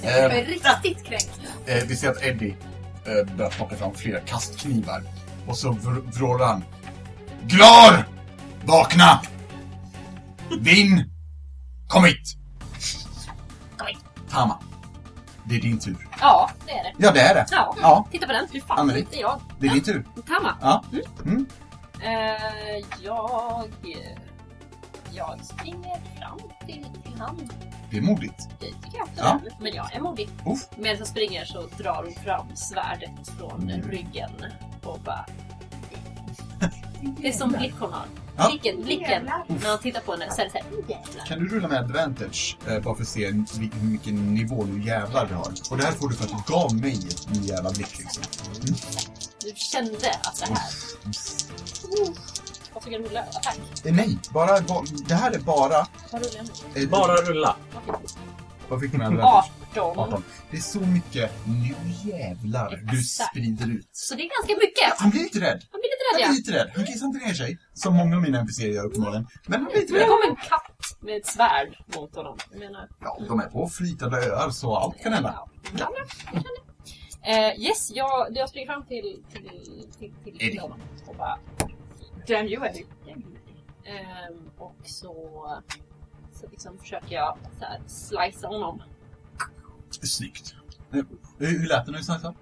S9: Jag
S2: Eh,
S9: är riktigt kränkt.
S2: Eh, vi ser att Eddie eh, börjar plocka fram flera kastknivar. Och så vr- vrålar han. Glar! Vakna! Vin! Kom hit!
S5: Kom hit.
S2: Tama. Det är din tur.
S5: Ja, det är det.
S2: Ja, det är det.
S5: Ja.
S2: Ja,
S5: Titta på den. Fy fan,
S2: Anneli.
S5: inte jag.
S2: det är din tur.
S5: Tamma.
S2: Ja.
S5: Mm.
S2: Mm.
S5: Eh, jag... Jag springer fram till, till han.
S2: Det är modigt.
S5: Det tycker jag
S2: Ja.
S5: absolut. Men jag är modig.
S2: Uff.
S5: Medan jag springer så drar hon fram svärdet från
S2: Mm.
S5: ryggen och bara... Det är som blick hon har.
S2: Ja.
S5: Blicken, blicken. När han tittar på henne så är det såhär... Jävlar.
S2: Kan du rulla med advantage eh, bara för att se vil- hur mycket nivå du jävlar du har? Och det här får du för att du gav mig en jävla blick liksom.
S5: Du kände att det här... Vad fick jag rulla? Attack?
S2: Eh, nej, bara, ba, det här är bara...
S5: Vad rullade jag nu?
S2: eh,
S4: Bara rulla.
S2: Vad fick du med advantage?
S5: 18.
S2: 18. Det är så mycket, nu jävlar, du
S5: Exakt.
S2: sprider ut.
S5: Så det är ganska mycket.
S2: Han blir lite rädd.
S5: Han blir lite rädd
S2: Han blir
S5: ja.
S2: lite rädd. Han kissar inte ner sig, som många av mina NPCer gör uppenbarligen. Men han blir lite
S5: Det
S2: rädd.
S5: kom en katt med ett svärd mot honom. Jag menar,
S2: Ja, de är på flytande öar så allt kan hända.
S5: ja, ja, ja, jag känner. Eh, yes, jag, jag springer fram till, till, till, till,
S2: Eddie.
S5: till honom och bara...
S7: Damn you Eddie.
S5: Ehm, och så, så liksom försöker jag så här, slicea honom.
S2: Snyggt. Eh, Hur hur lät det när du snackade?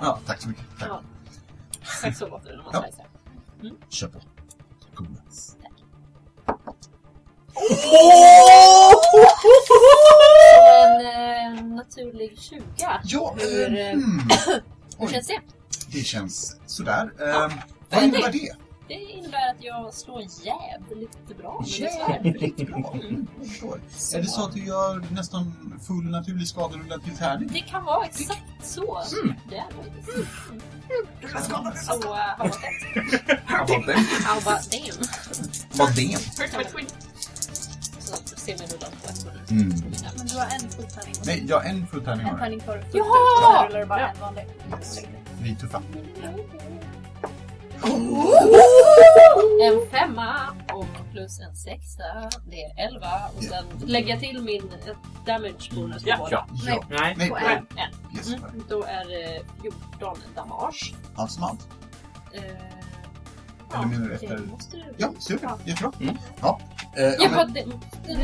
S2: Ja, tack så mycket. Tack.
S5: Ja. Exakt så låter det när man
S2: Ja.
S5: slicear.
S2: Kör på. Godis.
S5: En eh, naturlig 20.
S2: Ja,
S5: Hur,
S2: eh,
S5: eh,
S2: hmm.
S5: Hur
S2: Oj,
S5: känns det?
S2: det känns sådär. Eh,
S5: Vad är
S2: Vad innebär det?
S5: Det innebär att jag slår jävligt bra med mitt svärd.
S2: Jävligt bra. Mm, jag förstår. Är det så att du gör nästan full naturlig skaderulla till tärning?
S5: Det kan vara exakt så.
S2: Mm.
S5: Det är faktiskt. Så eh, han var fett. Han bara damn.
S2: Vad det?
S7: Hurt my twin.
S5: Så ser vi rullan på ett minut.
S2: Mm.
S9: Men du har en full tärning.
S2: Nej, jag har en full tärning
S9: En
S2: har jag.
S9: tärning kvar.
S5: Ja!
S9: Så rullar du bara en vanlig.
S2: Vi är tuffa.
S5: En femma och plus en sexa. Det är elva. Och sen lägger jag till min eh, damage bonus på
S7: Ja,
S5: båda.
S4: ja.
S2: Ja.
S4: Nej.
S2: Nej,
S9: På
S2: nej.
S9: en.
S5: En.
S2: Yes, nej.
S5: Mm. Då är det 14 damage.
S2: Allt som allt.
S5: Eh,
S2: Eller menar du
S5: det
S2: efter?
S5: måste du...
S2: Ja, super. Jättebra.
S4: Mm.
S2: Ja. Eh, ja, Mm.
S5: Jag Mm.
S2: men,
S5: bara... det-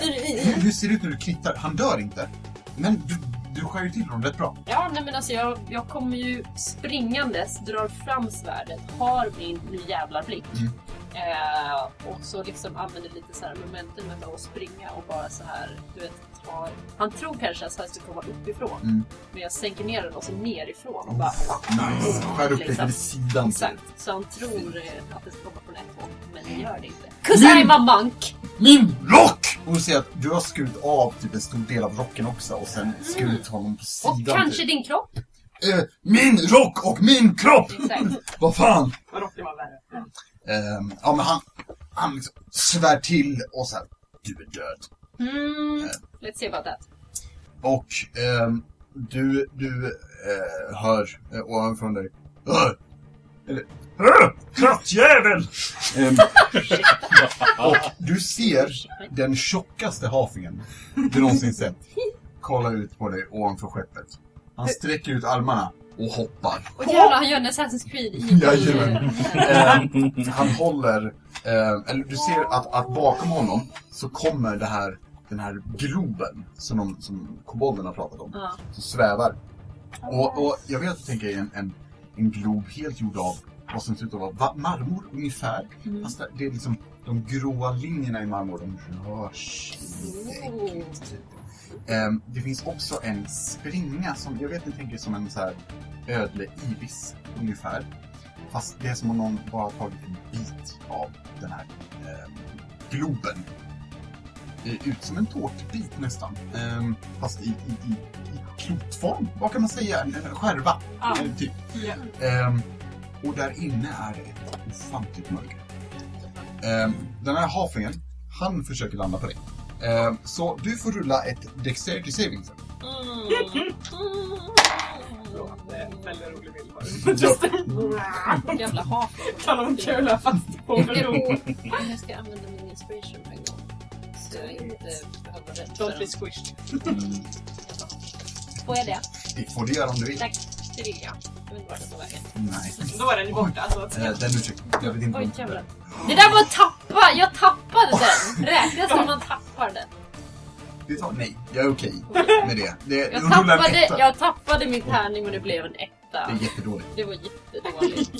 S2: hur, hur ser det ut när du knittar? Han dör inte. Men du, du skär ju till honom rätt bra.
S5: Ja, nej men alltså jag, jag kommer ju springandes, drar fram svärdet, har min nu jävla blick.
S2: Mm.
S5: Eh, och så liksom använder lite så här momentumet av att springa och bara så här, du vet, tar... Han tror kanske att svärdet ska komma uppifrån.
S2: Mm. Oh,
S5: Men jag sänker ner den och så nerifrån och bara...
S2: Nice. Skär upp dig
S5: Liksom.
S2: till sidan.
S5: Exakt. Så han tror eh, att det ska komma från ett håll, men det gör det inte. 'Cause I'm a monk!
S2: Min rock! Och du ser att du har skurit av typ en stor del av rocken också och sen skurit honom på
S5: Och
S2: sidan.
S5: kanske
S2: typ.
S5: din kropp!
S2: Eh, min rock och min kropp!
S5: Exakt.
S2: Vad fan!
S7: Vad rockig var värre.
S2: Ehm, ja, men han, han liksom svär till och så här. Du är död.
S5: Mm, let's see about that.
S2: Och ehm, du, du eh, hör eh, ovanför dig. "Åh!" Eller, "Åh, Krattjävel! Ehm, och du ser den tjockaste hafingen du någonsin sett kolla ut på dig ovanför skeppet. Han sträcker ut armarna och hoppar.
S5: Och jävlar, han gör en Assassin's Creed i...
S2: Jajamän. Ehm, han håller, ehm, eller du ser att, att bakom honom så kommer det här, den här globen som, de, som kobolden har pratat om,
S5: Ja.
S2: som svävar. Och, och jag vet att du tänker er en, en, en glob helt gjord av vad som ser ut att vara va- marmor ungefär.
S5: Mm.
S2: Fast det är liksom de gråa linjerna i marmor, de rör sig. typ.
S5: Oh.
S2: Ehm, det finns också en springa som, jag vet ni tänker som en så här ödle ibis ungefär. Fast det är som om någon bara tagit en bit av den här ehm, globen. Det är ut som en tårtbit nästan. Ehm, fast i, i, i, i klotform, vad kan man säga? En, en skärva,
S7: Ja.
S2: eh, typ.
S7: Ja.
S2: Ehm, och där inne är det ett ofantligt mörker. Ehm, den här haflingen, han försöker landa på dig. Ehm, så du får rulla ett Dexterity Saving throw.
S5: Mm.
S7: Bra, det är en väldigt rolig bild på
S5: Jävla hafla.
S7: Kanonkula fast på
S5: Jag
S7: bron.
S5: tror- jag ska använda min inspiration en gång. Så jag inte behöver rätt för
S7: Don't be
S5: den.
S7: squished.
S5: Får jag det?
S2: Det får du göra om du vill.
S5: Tack. Det vill jag. Jag vet inte vart det tar vägen.
S2: Nej.
S7: Då är den ju borta. Alltså.
S2: Eh, den ursäkten. Jag vet inte
S5: Oj,
S2: om
S5: jävlar. Mm. Det där var att tappa! Jag tappade den! Räknas när man tappar den?
S2: det tar, Nej, jag är okej med det. det
S5: Jag
S2: hon rullar en
S5: tappade,
S2: etta.
S5: jag tappade min tärning och det blev en
S2: Det
S5: etta.
S2: är jättedåligt.
S5: Det var jättedåligt.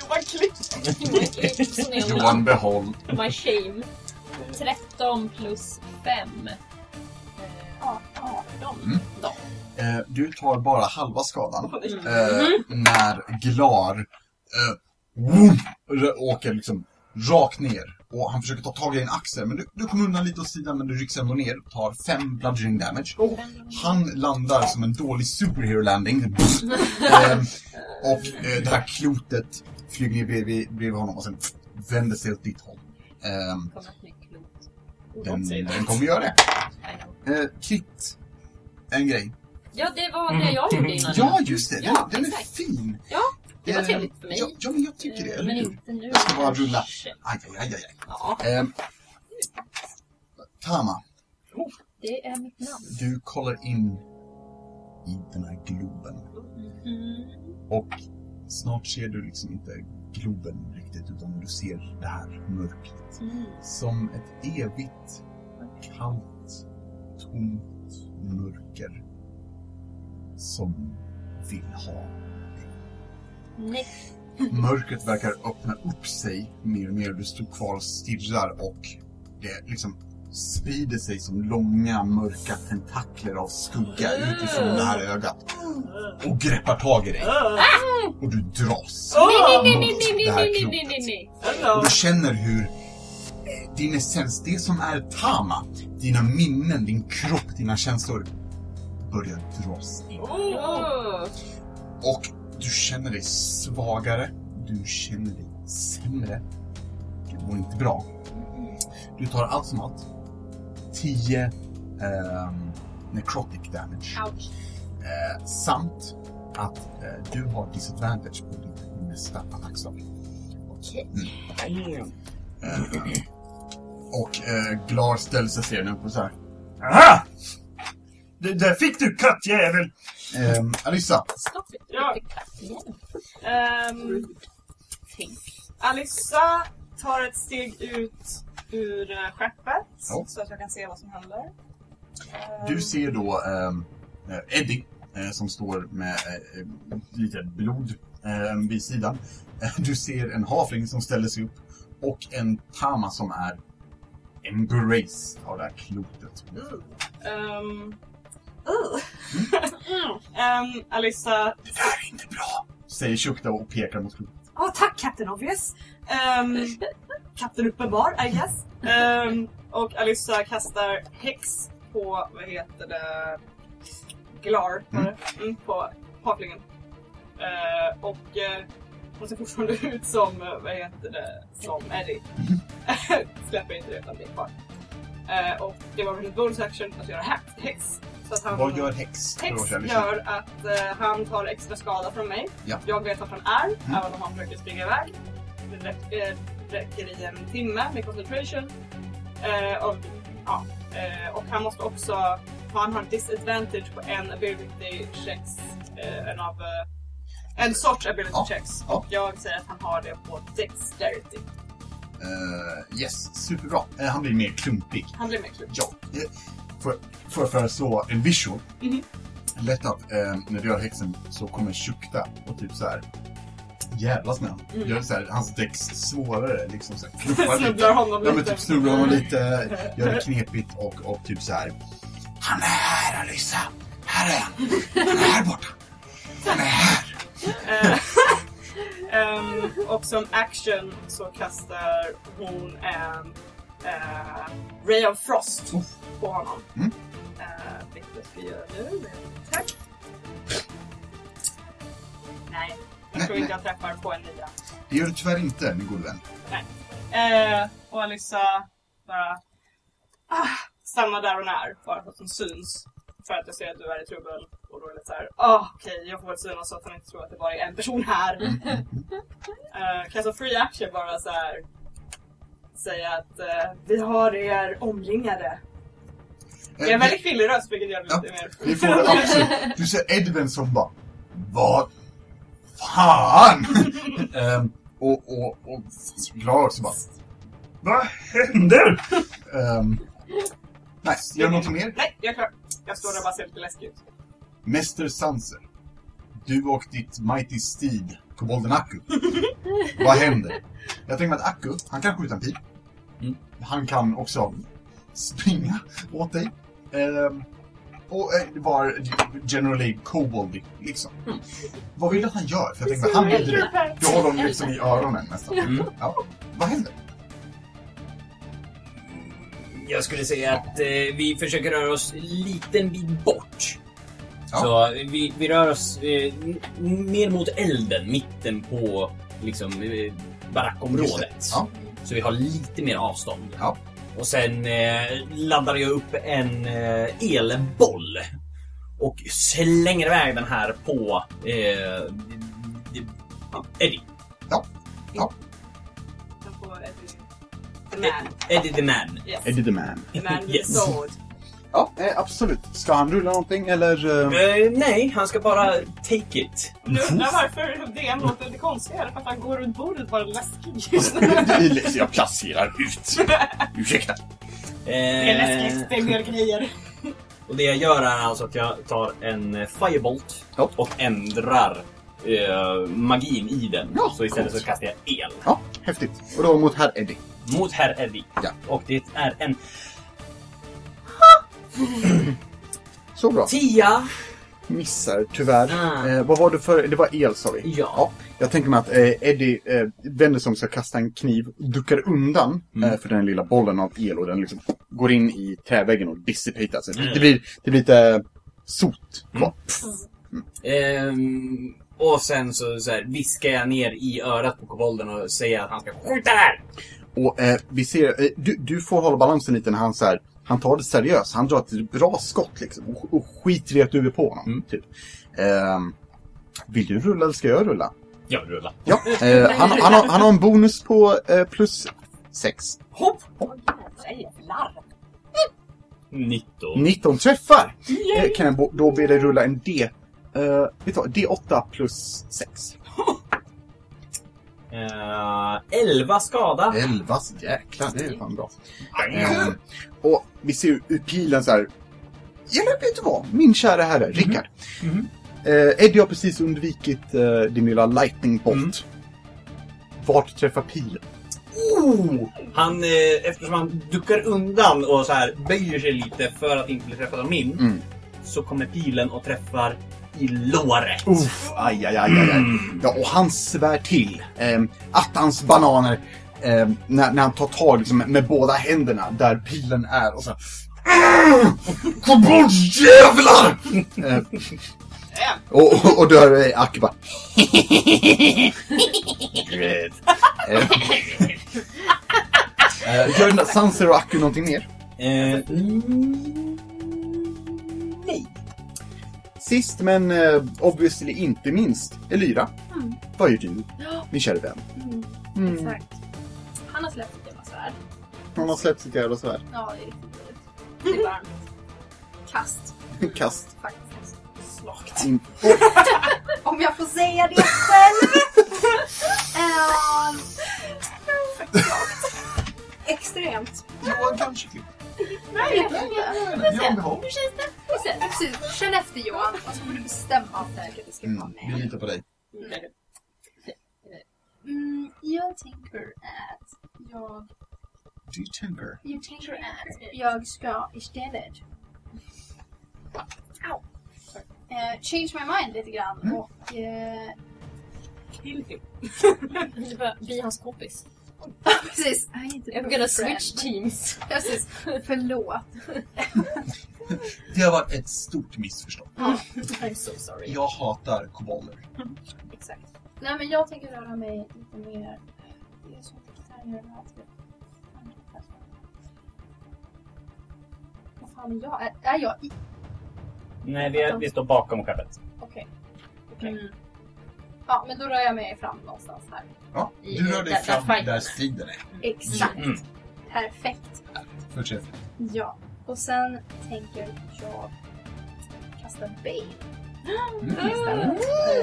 S7: Johan Klipp!
S5: Himla klipp, sån jävla-
S2: Johan, behåll.
S5: My shame. 13 plus 5.
S9: Ja, ja.
S2: Eh, du tar bara halva skadan.
S7: Mm.
S2: eh, när Glar eh, vroom, r- åker liksom rakt ner. Och han försöker ta tag i din axel, men du, du kommer undan lite åt sidan men du rycks ändå ner och tar fem bludgeoning damage. Han landar som en dålig superhero landing. eh, och eh, det här klotet flyger ner bredvid, bredvid honom och sen vänder sig åt ditt håll. Eh,
S5: Kom att bli klok.
S2: den, den kommer göra det. Eh, krit. En grej.
S5: Ja, det var det jag gjorde innan.
S2: Ja, just det. Den,
S5: Ja,
S2: den är
S5: exakt.
S2: fin.
S5: Ja, det var
S2: Eh,
S5: trevligt för mig.
S2: Ja, ja men jag tycker det.
S5: Eh,
S2: eller
S5: Men
S2: hur?
S5: inte nu.
S2: Jag ska bara rulla.
S5: Shit.
S2: Aj, aj, aj, aj.
S5: Ja,
S2: aj. Ehm, Tama,
S5: det är mitt namn.
S2: du kollar in i den här globen.
S5: Mm.
S2: Och snart ser du liksom inte globen riktigt, utan du ser det här mörkret.
S5: Mm.
S2: Som ett evigt, kallt, tomt mörker. Som vill ha
S5: Nej.
S2: Mörkret verkar öppna upp sig mer och mer. Du står kvar och stirrar och det liksom sprider sig som långa mörka tentakler av skugga utifrån det här ögat. Och greppar tag i dig.
S7: Ah!
S2: Och du dras.
S5: Nej, nej,
S2: mot
S5: nej, nej,
S2: det
S5: nej,
S2: här
S5: nej, nej,
S2: klotet.
S5: nej, nej.
S2: Och du känner hur eh, din essens, det som är Tama, dina minnen, din kropp, dina känslor börjar dras in.
S5: Åh.
S2: Och du känner dig svagare. Du känner dig sämre. Du mår inte bra. Du tar allt som allt 10 ehm, necrotic damage.
S5: Ouch.
S2: Eh, samt att eh, du har disadvantage på din nästa Mm. attackslag.
S5: Okej.
S2: Eh, och eh, Glar ställer sig ser nu på så här. Aha! Det där fick du kattjävel! Ehm, Alissa,
S5: Stopp it.
S7: Ja.
S5: Igen.
S7: Ehm,
S5: Tänk.
S7: Alissa tar ett steg ut ur eh, skeppet
S2: Ja.
S7: så att jag kan se vad som händer. Ehm,
S2: Du ser då ehm, eh, Eddie eh, som står med eh, eh, lite blod eh, vid sidan. Eh, Du ser en hafling som ställer sig upp och en tama som är embraced av det här klotet.
S7: ehm, ugh.
S2: Mm.
S7: Ehm, Alissa...
S2: Det där är inte bra! Säger Shukta och pekar mot klotet.
S7: Åh tack Captain Obvious! Ehm, Captain Uppenbar, I guess. Ehm, och Alissa kastar Hex på, vad heter det, Glar, var det? mm, på haklingen. Eh, och eh, hon ser fortfarande ut som, eh, vad heter det, som Eddie. Ehm, Släpper inte det utan blir kvar. Eh, och det var väl en bonus action att göra hack- Hex. Så att han,
S2: Vad gör häx?
S7: Tex gör att eh, han tar extra skada från mig.
S2: Ja. Mm.
S7: Jag vet vart han är, även om han försöker springa iväg. Det räcker, räcker i en timme med concentration. Eh, och, ja. eh, och han måste också... Han har disadvantage på en ability checks. Eh, en, av, eh, en sorts ability
S2: Ja.
S7: checks.
S2: Ja.
S7: Och jag säger att han har det på dexterity.
S2: Eh, yes, superbra. Eh, han blir mer klumpig.
S7: Han blir mer kul.
S2: Ja. eh, Får, får jag föreslå en visual?
S7: Mhm.
S2: Lätt att eh, när du gör häxen så kommer Shukta och typ så här jävlas med honom.
S7: Mm.
S2: Gör så här, hans däck svårare. Liksom så här, knuffar lite.
S7: Snubblar honom
S2: Ja
S7: lite.
S2: men typ snubblar honom lite, gör det knepigt och, och typ så här. Han är här Alyssa! Här är han! Han är här borta! Han är här!
S7: Eh, ehm, och som action så kastar hon en eh, Ray of Frost
S2: Oh.
S7: på honom.
S2: Mm.
S7: Eh, vilket vi gör nu med attack. Nej, jag
S2: Nej,
S7: tror inte jag träffar på en nia.
S2: Det gör du tyvärr inte min gode vän.
S7: Eh, och Alyssa bara ah, stannar där hon är bara för att hon syns. För att jag ser att du är i trubbel. Och då är det så här, ah, okej jag får väl synas så att han inte tror att det bara är en person här.
S2: Mm.
S7: eh, kan jag som free action bara så här säga att eh, vi har er omringade. Det
S2: Eh,
S7: är en väldigt kvinnlig röst vilket gör det lite mer...
S2: Vi får det absolut. Du ser Edvin som bara Vad fan! Ehm, och, och, och glad också bara Vad händer? Ehm, nice, gör du något mer?
S7: Nej, jag är klar. Jag står där och bara ser lite läskig ut.
S2: Mäster Sanser, du och ditt mighty steed, kobolden Akku. Vad händer? Jag tänker mig att Akku, han kan skjuta en pil.
S8: Mm.
S2: Han kan också springa åt dig. Ehm, och eh, var generally koboldig, liksom. Vad vill du att han gör? För jag tänker att han vill det. Du håller honom liksom i öronen nästan.
S8: Mm.
S2: Ja. Vad händer?
S8: Jag skulle säga att eh, vi försöker röra oss en liten bit bort.
S2: Ja.
S8: Så vi, vi rör oss eh, n- mer mot elden, mitten på liksom, eh, barackområdet.
S2: Ja.
S8: Så vi har lite mer avstånd.
S2: Ja.
S8: Och sen eh, laddar jag upp en eh, elboll och slänger iväg den här på eh, Eddie.
S7: Jag får ett... The man.
S8: Eddie the man.
S7: Yes.
S2: Eddie the man.
S7: The man with
S8: Yes.
S7: the sword.
S2: Ja, eh, absolut. Ska han rulla någonting eller? ehm,
S8: Eh, nej, han ska bara take it.
S7: Du undrar varför DM låter lite konstigare för att han går runt bordet bara läskig just
S2: Eh.
S7: nu.
S2: liksom, Jag placerar ut. Ursäkta.
S8: Eh,
S7: Det är läskigt, det är mer grejer.
S8: Och det jag gör är alltså att jag tar en eh, firebolt
S2: Ja.
S8: och ändrar eh, magin i den.
S2: Ja,
S8: så istället
S2: coolt.
S8: så kastar jag el
S2: Ja, häftigt. Och då mot herr Eddie.
S8: mot herr Eddie.
S2: Ja.
S8: Och det är en
S2: Så bra.
S8: tia.
S2: Missar tyvärr.
S8: Ah.
S2: Eh, vad var det för? Det var el sa vi.
S8: Ja.
S2: Ja. Jag tänker mig att eh, Eddie eh, vänder sig om, ska kasta en kniv, duckar undan
S8: Mm.
S2: eh, för den här lilla bollen av el och den liksom går in i träväggen och dissipatas. Det,
S8: Mm.
S2: det, blir, det blir lite sot kvar.
S8: Ehm, och sen så, så här, viskar jag ner i örat på kobolden och säger att han ska skjuta där!
S2: Och eh, vi ser, eh, du, du får hålla balansen lite när han så här, han tar det seriöst. Han drar ett bra skott liksom och, och skiter i att du är på honom.
S8: Mm.
S2: Typ. Ehm, vill du rulla eller ska jag rulla?
S8: Jag rullar.
S2: Ja, eh, han, han, har, han har en bonus på eh, plus 6.
S7: Hopp!
S8: 19.
S2: 19 träffar! Eh, kan jag bo- då be dig rulla en D. Eh, vet du vad? D8 plus 6.
S8: Eh, 11 skada.
S2: 11, jäklar det är fan bra. Ehm, och vi ser ju ur pilen så här. Eller vet du vad? Min kära herre, Rickard.
S8: Mhm.
S2: Eh, Eddie har precis undvikit eh, din lilla lightning bolt.
S8: Mm.
S2: Vart träffar pilen?
S8: Oh! Han, eh, eftersom han duckar undan och så här böjer sig lite för att inte bli träffad av min,
S2: Mm.
S8: så kommer pilen och träffar i låret.
S2: Uff, aj, aj, aj, aj. aj.
S8: Mm.
S2: Ja, och han svär till. Eh, attans bananer. Eh, när, när han tar tag liksom, med båda händerna där pilen är och så här. "Ah! Kom bort jävlar! Eh, och, och, eh, och då hör du Aki bara... Great. Eh, Gör Sanser och Aku någonting mer?
S8: Eh, mm, nej.
S2: Sist men eh, obviously inte minst, Elyra.
S9: Mm.
S2: Vad gör du,
S9: Ja,
S2: min kära vän?
S9: mm,
S2: Mm.
S9: Exakt. Han har släppt ett jävla svärd.
S2: Hon har släppt sitt jävla svärd.
S9: Ja, det är riktigt dåligt. Det är varmt. Kast,
S2: Kast.
S9: faktiskt.
S7: Slakt.
S2: Mm.
S9: Om jag får säga det själv! Ehm, Extremt.
S2: Johan kanske klipp.
S9: Nej, jag kan inte.
S2: Johan behåll.
S9: Och sen, precis, Känn efter Johan och så får du bestämma om vilket du ska ta
S2: Mm. Vi
S9: med.
S2: litar på dig.
S9: Mm, jag tänker att jag
S2: Do you temper?
S9: Jag tänker att jag ska istället Au. Eh, change my mind lite grann
S2: Mm.
S9: och eh,
S7: Kill him.
S5: Det var Vi hans kompis.
S9: precis, I need to be
S5: I'm gonna
S9: friend.
S5: switch teams.
S9: Precis, förlåt.
S2: Det har varit ett stort missförstånd.
S5: I'm so sorry.
S2: Jag hatar kobolder.
S9: Exakt. Nej men jag tänker röra mig lite mer. eh, Det är så att gitarren gör det här till Vad fan är jag? Är, är jag i?
S4: Nej, vi, är, vi står bakom skeppet.
S9: Okej. Okej. Ja men då rör jag mig fram någonstans här.
S2: Ja,
S5: I-
S2: du rör dig
S5: där-
S2: fram
S5: där fight-
S2: där striden är.
S9: Exakt.
S4: Mm.
S9: Perfekt.
S2: Förträffligt.
S9: Ja, och sen tänker jag kasta Bane.
S2: Mm,
S9: Mm.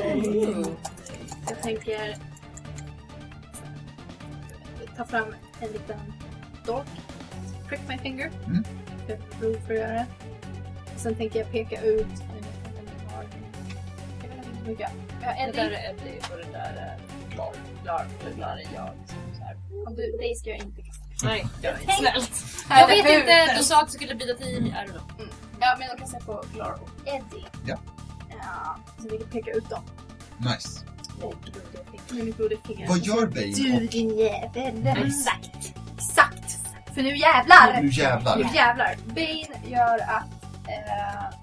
S5: Mm.
S9: Jag tänker ta fram en liten dolk. Prick my finger.
S2: Mm.
S9: Jag prov för att göra det. Och sen tänker jag peka ut en- en- en- en- jag vet inte hur mycket. Jag har
S5: Det där
S9: Eddie.
S5: är Eddie och det där är
S2: Klar.
S5: Lar. Det där är jag. liksom så här.
S9: Och du, dig ska jag inte kasta.
S5: Nej, det var inte snällt.
S9: Här
S5: Jag
S9: är
S5: vet inte,
S9: huvudet.
S5: du sa att du skulle bida till i ärmarna.
S9: Ja, men jag kastar på Glar och Eddie.
S2: Ja.
S9: Ja, så vill jag peka ut dem.
S2: Nice.
S9: Med mitt blodiga finger.
S2: Vad gör Bane?
S9: Du din jävel!
S5: Mm.
S9: Exakt! Exakt! För nu jävlar!
S2: Och nu jävlar.
S9: Nu jävlar! Bane gör att eh,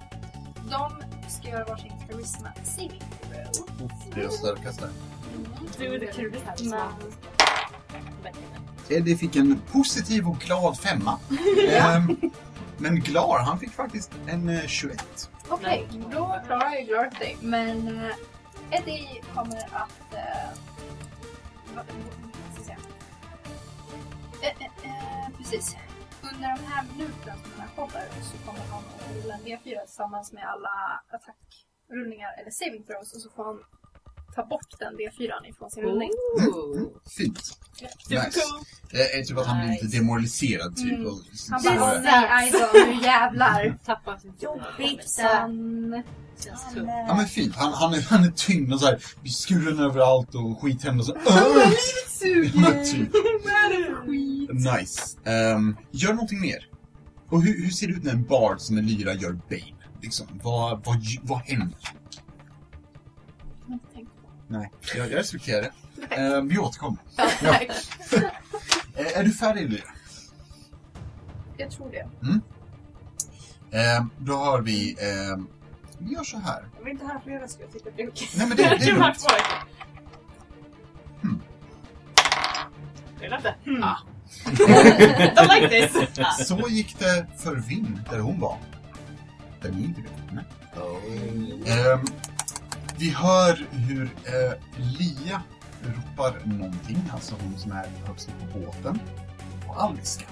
S9: de ska göra varsin charisma saving throw.
S2: Uff, Deras starkaste.
S9: Mm.
S7: Du är det Mm. charisma.
S2: Eddie fick en positiv och glad femma. Ehm, men Glar, han fick faktiskt en eh, 21.
S9: Okej, då klarar jag Glory dig. Men eh, Eddie kommer att... Eh, vad- vad ska jag säga? Eh, eh, eh, precis. Under de här minuterna som han håller så kommer han att rulla en D4 tillsammans med alla attackrullningar eller saving throws och så får han ta bort den D4 ifrån sin rullning. Mm.
S2: Fint. Nice. Det är typ att han blir lite
S5: Nice.
S2: demoraliserad typ.
S9: Mm.
S2: Och, så,
S9: Han
S2: så,
S9: bara nej Idol, nu jävlar!
S5: Tappar sin Jobbigt.
S9: Sen...
S5: Känns tungt.
S2: ja men fint. Han, han, är, han är tyngd och så här, skuren överallt och skithämnd och så. Men typ. Nice. Ehm, gör någonting mer. Och hur, hur ser det ut när en bard som en lyra gör Bane? Liksom, vad, vad, ju- vad händer? Nej, jag, jag respekterar det. Ehm, vi återkommer.
S9: tack.
S2: Eh, är du färdig Lyra?
S9: Jag tror det.
S2: Ehm, då har vi... ehm, vi gör så här.
S7: Jag vill inte höra flera ska jag tycka det är okej.
S2: Nej men det, det är
S7: Du har
S2: lugnt.
S7: två.
S2: Hmm.
S7: Det är inte. Hmm.
S2: Ah.
S7: Don't like this!
S2: Så gick det för Vinn där hon var. Där ni inte vet. Nej. Ehm, vi hör hur eh, Lia ropar någonting, alltså hon som är högst upp på båten. Och Alviska.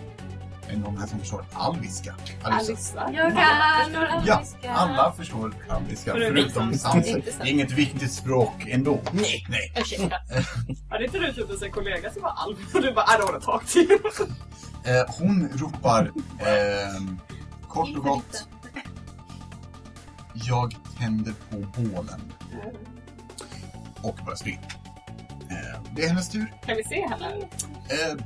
S2: Är det någon här som förstår Alviska? Alviska.
S7: Alissa.
S9: Jag kan!
S2: Ja, alla förstår alviska
S7: Förutom
S2: förutom
S7: sans.
S2: sanser. Det är inget viktigt språk ändå. Nej. Nej.
S5: Ursäkta.
S7: Hade inte du typ en sån kollega som var alv? Och du bara I don't wanna talk to you.
S2: Eh, hon ropar ehm, kort
S9: Inte
S2: och gott. Jag tänder på bålen. Och börjar springa. Eh, det är hennes tur.
S7: Kan vi se henne?
S2: Eh,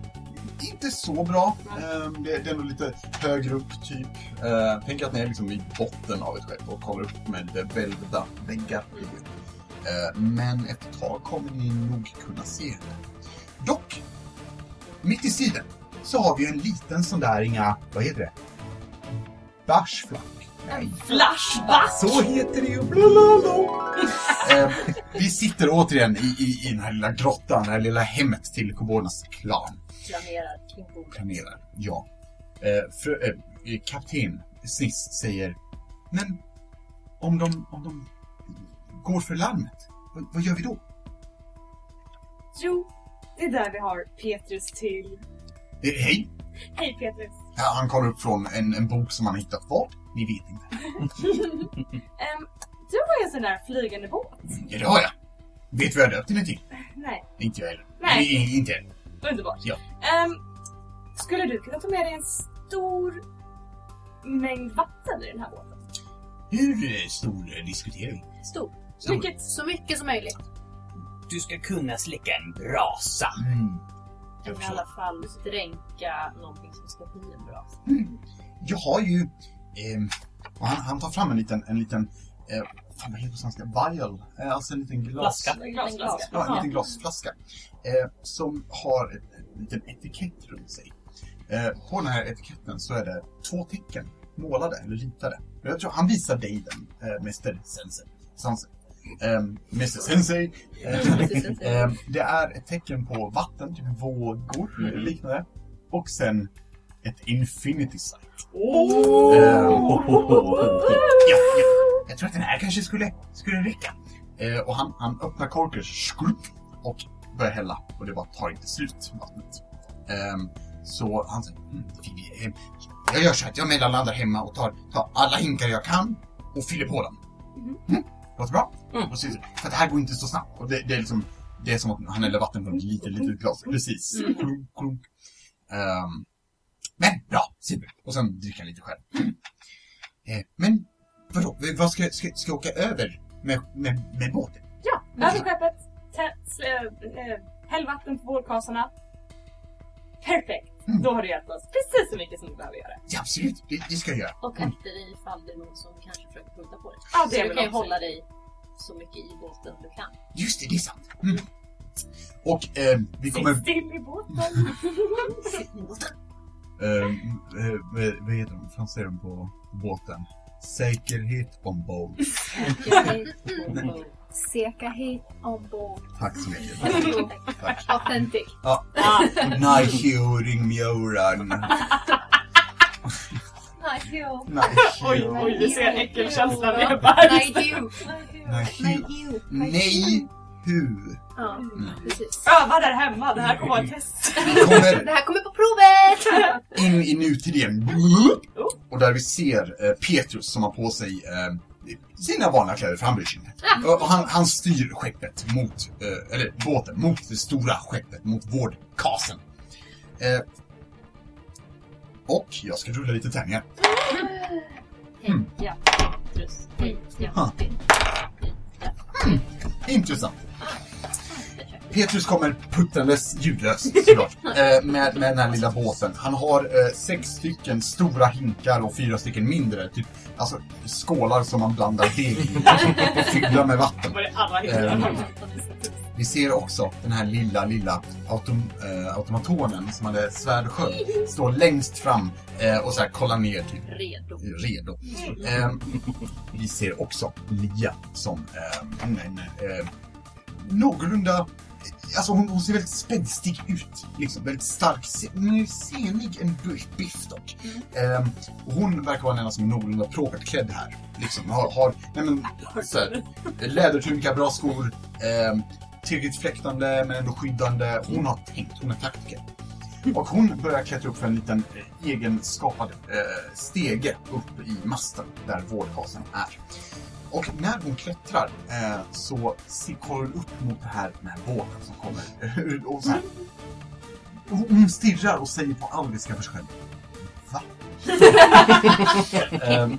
S2: inte så bra. Eh, det, det är nog lite högre upp, typ. Eh, tänk att ni är liksom i botten av ett skepp och kommer upp med lite välvda väggar. i det. Eh, men ett tag kommer ni nog kunna se henne. Dock, mitt i sidan så har vi en liten sån där inga, vad heter det? Bashflack. Nej.
S7: Flashback!
S2: Så heter det ju. Blablabla. eh, vi sitter återigen i, i, i den här lilla grottan, det här lilla hemmet till koboldernas klan
S5: Planerar kring bordet.
S2: planerar, ja. Eh, frö, eh, kapten Sniss säger Men om de, om de går för larmet, vad, vad gör vi då?
S7: Jo, det är där vi har Petrus till.
S2: Eh, hej!
S7: Hej Petrus!
S2: Ja, han kommer upp från en, en bok som han hittat. Vad? Ni vet inte.
S7: Ehm, du har ju en sån där flygande båt.
S2: Ja, det har jag. Vet du vad jag döpt den till?
S7: Nej,
S2: Inte jag heller.
S7: Nej.
S2: I- i- inte än.
S7: underbart.
S2: Ja.
S7: Ehm, skulle du kunna ta med dig en stor mängd vatten i den här båten?
S2: Hur eh, stor eh, diskuterar vi?
S9: Stor.
S2: Stor.
S7: Mycket.
S9: Så mycket som möjligt.
S8: Du ska kunna släcka en brasa.
S2: Mm. Jag
S5: Eller i
S2: förstår.
S5: alla fall dränka någonting som ska bli en bra
S2: Jag har ju... ehm, och han, han tar fram en liten... En liten eh, fan, vad heter det på svenska? Vial. Eh, alltså en liten glas...
S8: Flaska.
S7: En glasflaska.
S2: Ja, en
S7: Ja.
S2: liten glasflaska. Eh, som har ett, en liten etikett runt sig. Eh, på den här etiketten så är det två tecken målade eller ritade. Och Jag tror han visar dig den, eh, Mr. Sensei. Sensei. Eh, Mr. Sensei. Eh, eh, det är ett tecken på vatten, typ vågor eller
S4: Mm.
S2: liknande. Och sen ett infinity sign.
S7: Åh!
S2: Ehm, Ja, ja. Jag tror att den här kanske skulle, skulle räcka. Eh, och han, han öppnar korken skrupp, och börjar hälla. Och det bara tar inte slut, vattnet. Ehm, så han säger, mm, vi- eh, jag gör så här att jag mellanlandar hemma och tar, tar alla hinkar jag kan och fyller på dem. Mm, låter bra.
S8: Mm.
S2: Och så, för att det här går inte så snabbt. Och det, det är liksom, det är som att han häller vatten från ett litet, litet glas. Precis. Klunk, klunk. Ehm, men bra, super. Och sen dricker han lite själv. Eh, men Vadå? Vad ska, ska, ska jag åka över med, med, med båten?
S7: Ja, över skeppet. tä- slö- eh, Häll vatten på vårdkasarna. Perfekt!
S2: Mm.
S7: Då har du hjälpt oss precis så mycket som du behöver göra.
S2: Ja, absolut, det, det ska jag göra.
S5: Och akta dig ifall det är någon som kanske försöker putta på dig.
S7: Ja,
S5: Så du
S7: väl
S5: kan ju
S7: också-
S5: hålla dig så mycket i båten du kan.
S2: Just det, det är sant. Mm. Och eh, vi kommer...
S7: Sitt still i båten.
S2: Eh, eh, vad- vad heter de? Vad säger de på båten? Säkerhet ombord.
S9: Seka hit ombord.
S2: Tack så mycket.
S9: Authentic.
S2: Nike ring mjöran.
S9: Nice you.
S7: Oj,
S2: Nike.
S7: oj, du ser äckelkänslan
S9: Nej,
S7: lever.
S9: you.
S2: Nike.
S9: Nej, you.
S2: Nej, hur?
S9: Mm. Ja, precis.
S7: Öva där hemma, det här kommer vara ett test.
S2: Kommer
S9: Det här kommer på provet!
S2: in i nutiden. Och där vi ser eh, Petrus som har på sig eh, sina vanliga kläder, för han bryr sig inte. Och och han, han styr skeppet mot, eh, eller båten, mot det stora skeppet, mot vårdkasen. Eh, och jag ska rulla lite tärningar. Mm.
S5: Ja, Petrus.
S2: Ha.
S5: Ja,
S2: Intressant. Petrus kommer puttandes ljudlöst såklart, eh, med, med den här lilla båten. Han har eh, sex stycken stora hinkar och fyra stycken mindre. Typ, alltså skålar som man blandar deg i och fyller med vatten.
S7: Var det alla
S2: Eh,
S7: hinkar?
S2: Vi ser också den här lilla, lilla autom, eh, automatonen som hade svärd och sköld stå längst fram eh, och så här kolla ner typ
S5: redo.
S2: redo. Ehm, vi ser också Lia som ehm, en, en, eh, någorlunda... Alltså hon, hon ser väldigt spänstig ut. Liksom, väldigt stark. se- mer Senig än bu- biff dock. Ehm, och hon verkar vara den enda som är någorlunda propert klädd här. Liksom, har, har nej men, så här, lädertunka, bra skor. ehm, tillräckligt fläktande men ändå skyddande. Hon har tänkt, hon är taktiker. Och hon börjar klättra upp för en liten eh, egen skapad eh, stege upp i masten där vårdkasen är. Och när hon klättrar eh, så se- kollar hon upp mot det här, den här båten som kommer. ur- och så här. Och Hon stirrar och säger på alviska för sig själv. Va? Ehm,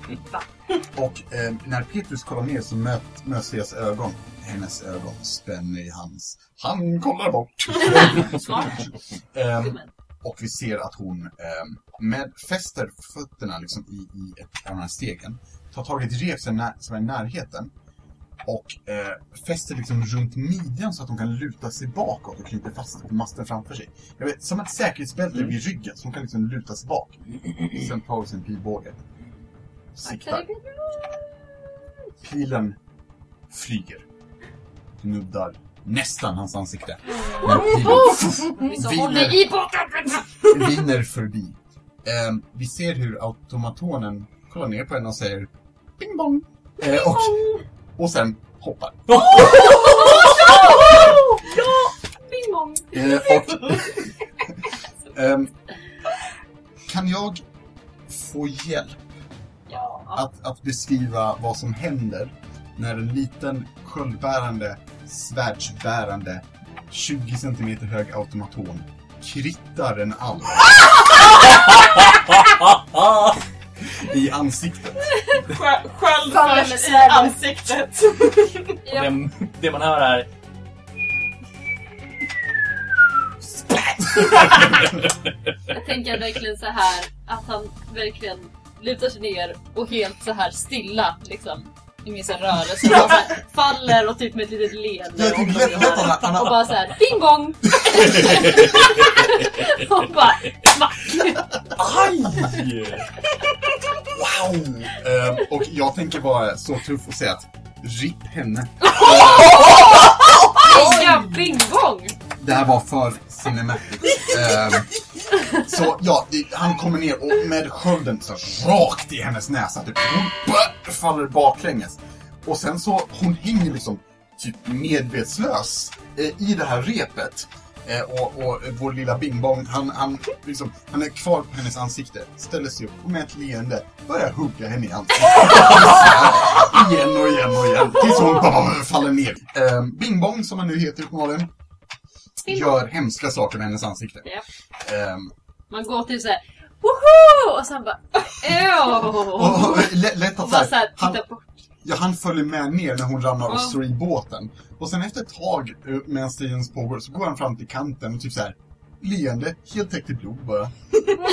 S2: och eh, när Petrus kollar ner så möt- möts deras ögon. Hennes ögon spänner i hans. Han kollar bort. Ehm, och vi ser att hon ehm, med fäster fötterna liksom i, i ett av de här stegen, tar tag i ett rep som är när- som är i närheten och eh, fäster liksom runt midjan så att hon kan luta sig bakåt och knyter fast på masten framför sig. Jag vet, som ett säkerhetsbälte vid ryggen så hon kan liksom luta sig bak. Sen tar hon sin pilbåge. Siktar. Pilen flyger. Nuddar nästan hans ansikte. Men pilen
S7: Mm.
S2: viner
S6: I båten!
S2: viner förbi. Ehm, vi ser hur automatonen kollar ner på henne och säger Bing bong! Eh, och, och sen hoppar.
S5: Bing bong!
S2: Eh, och, Ehm, kan jag få hjälp
S5: Ja.
S2: att, att beskriva vad som händer när en liten sköldbärande, svärdsbärande, 20 cm hög automaton krittar en alv i ansiktet?
S7: Skö- Sköld
S9: Faller med
S7: först i
S9: svärdet.
S7: ansiktet.
S5: Ja.
S4: Och det, det man hör är...
S5: Jag tänker verkligen så här att han verkligen lutar sig ner och helt så här stilla liksom. Ingen sån rörelse. Han så här faller och typ med ett litet leende.
S2: Jag tycker lätt att han har-
S5: Och
S2: han har...
S5: bara så här bing bong! och bara
S4: Aj!
S2: Wow! Ehm, och jag tänker vara så tuff och säga att RIP henne.
S5: ja, bing bong!
S2: Det här var för cinematic. Ehm, så ja, det- han kommer ner och med skölden så rakt i hennes näsa. Typ, hon bö- faller baklänges. Och sen så, hon hänger liksom typ medvetslös eh, i det här repet. Eh, och, och vår lilla bingbong, han, han, liksom, han är kvar på hennes ansikte, ställer sig upp och med ett leende börjar hugga henne i ansiktet. igen och igen och igen, tills hon bara faller ner. Eh, bingbong, som han nu heter uppenbarligen, gör hemska saker med hennes ansikte.
S5: Ja.
S2: Ehm,
S5: Man går till så här woho! Och sen bara
S2: och,
S5: åh!
S2: och, lä- lätt
S5: Och
S2: att så
S5: bara
S2: här,
S5: så här
S2: han,
S5: titta bort.
S2: ja, han följer med ner när hon ramlar och
S5: Ja.
S2: står i båten. Och sen efter ett tag, eh, medan striden pågår, så går han fram till kanten och typ så här leende, helt täckt i blod bara.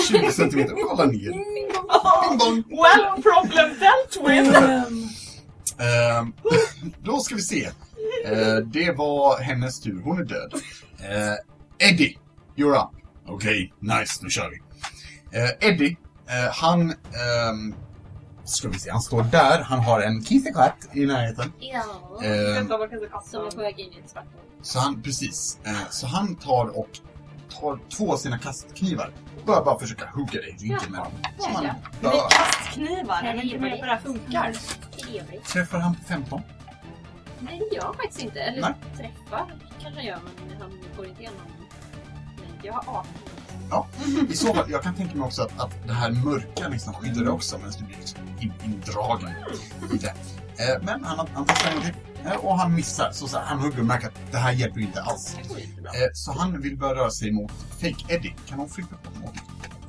S2: 20 centimeter och kollar ner. Bing bong!
S7: Well problem dealt with.
S2: Ehm, då ska vi se. Eh, det var hennes tur. Hon är död. Eh, Eddie, you're up. Okej, nice. Nu kör vi. Eh, Eddie, eh, han... ehm, ska vi se, han står där. Han har en kissekatt i närheten.
S5: Ja.
S2: Ehm,
S7: Vänta, vad kan det kosta?
S5: Som är på väg in i ett svart hål.
S2: så han, precis. Eh, så han tar och tar två av sina kastknivar. Och börjar bara försöka hugga dig i ryggen med dem. Som han
S5: Ja,
S7: Det
S2: bör.
S7: är kastknivar. Jag vet inte hur
S1: Trevligt.
S7: det här funkar.
S1: Trevligt.
S2: Träffar han på 15?
S5: Nej, det gör han faktiskt inte. Eller
S2: Nej.
S5: träffar kanske han gör, men han går inte igenom. Men jag har 18.
S2: I så fall, jag kan tänka mig också att, att det här mörka liksom skyddar dig också medan du blir liksom in, indragen i det. Eh, men han, han testar en gång till eh, och han missar. Så, så här, han hugger och märker att det här hjälper ju inte alls.
S5: Det går ju inte bra.
S2: Eh, så han vill börja röra sig mot Fake Eddie. Kan hon flytta på mot?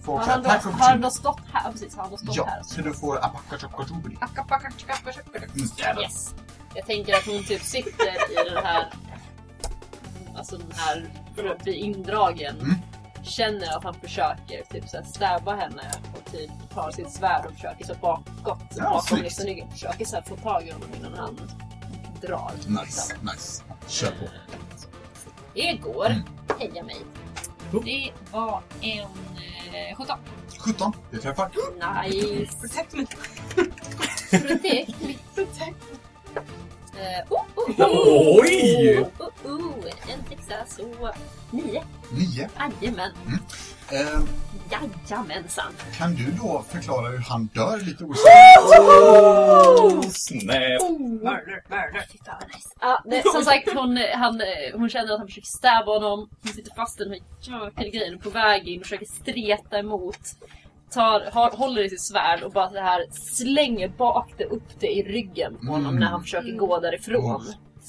S2: Får
S5: Har
S2: också
S5: han då,
S2: attack
S5: har han
S2: opportunity.
S5: då stått här? Ja, Precis, har han då stått
S2: Ja,
S5: här?
S2: så du får apakachopkachobri.
S5: Akka, packa, tjacka, packa, tjacka.
S2: Mm.
S5: Yes. Jag tänker att hon typ sitter i den här... Alltså den här... För att bli indragen.
S2: Mm.
S5: Känner att han försöker typ så här stäba henne och typ tar sitt svärd och försöker så bakåt.
S2: Ja,
S5: bakom
S2: snyggt.
S5: liksom ryggen. Försöker så här få tag i honom innan han drar.
S2: Nice, nice. Kör på.
S5: Det går.
S2: Mm.
S5: Heja mig.
S2: Oh.
S5: Det var en eh, 17.
S2: 17, det träffar.
S5: Nice.
S7: Protect me.
S5: Protect me. Eh, oh, oh, oh.
S8: Oj!
S5: Oh, oh, oh. En sexa så nio.
S2: 9.
S5: Jajamän.
S2: Eh,
S5: Jajamensan.
S2: kan du då förklara hur han dör lite osäkert?
S4: Oh, snap!
S7: Murder, murder.
S5: Fy fan vad nice. Ja, det, som sagt, hon, han, eh, hon känner att han försöker stäva honom. Hon sitter fast i den här jäkla grejen på väg in och försöker streta emot. Tar, har, håller i sitt svärd och bara så här slänger bak det upp det i ryggen på honom
S2: Mm.
S5: när han försöker gå därifrån.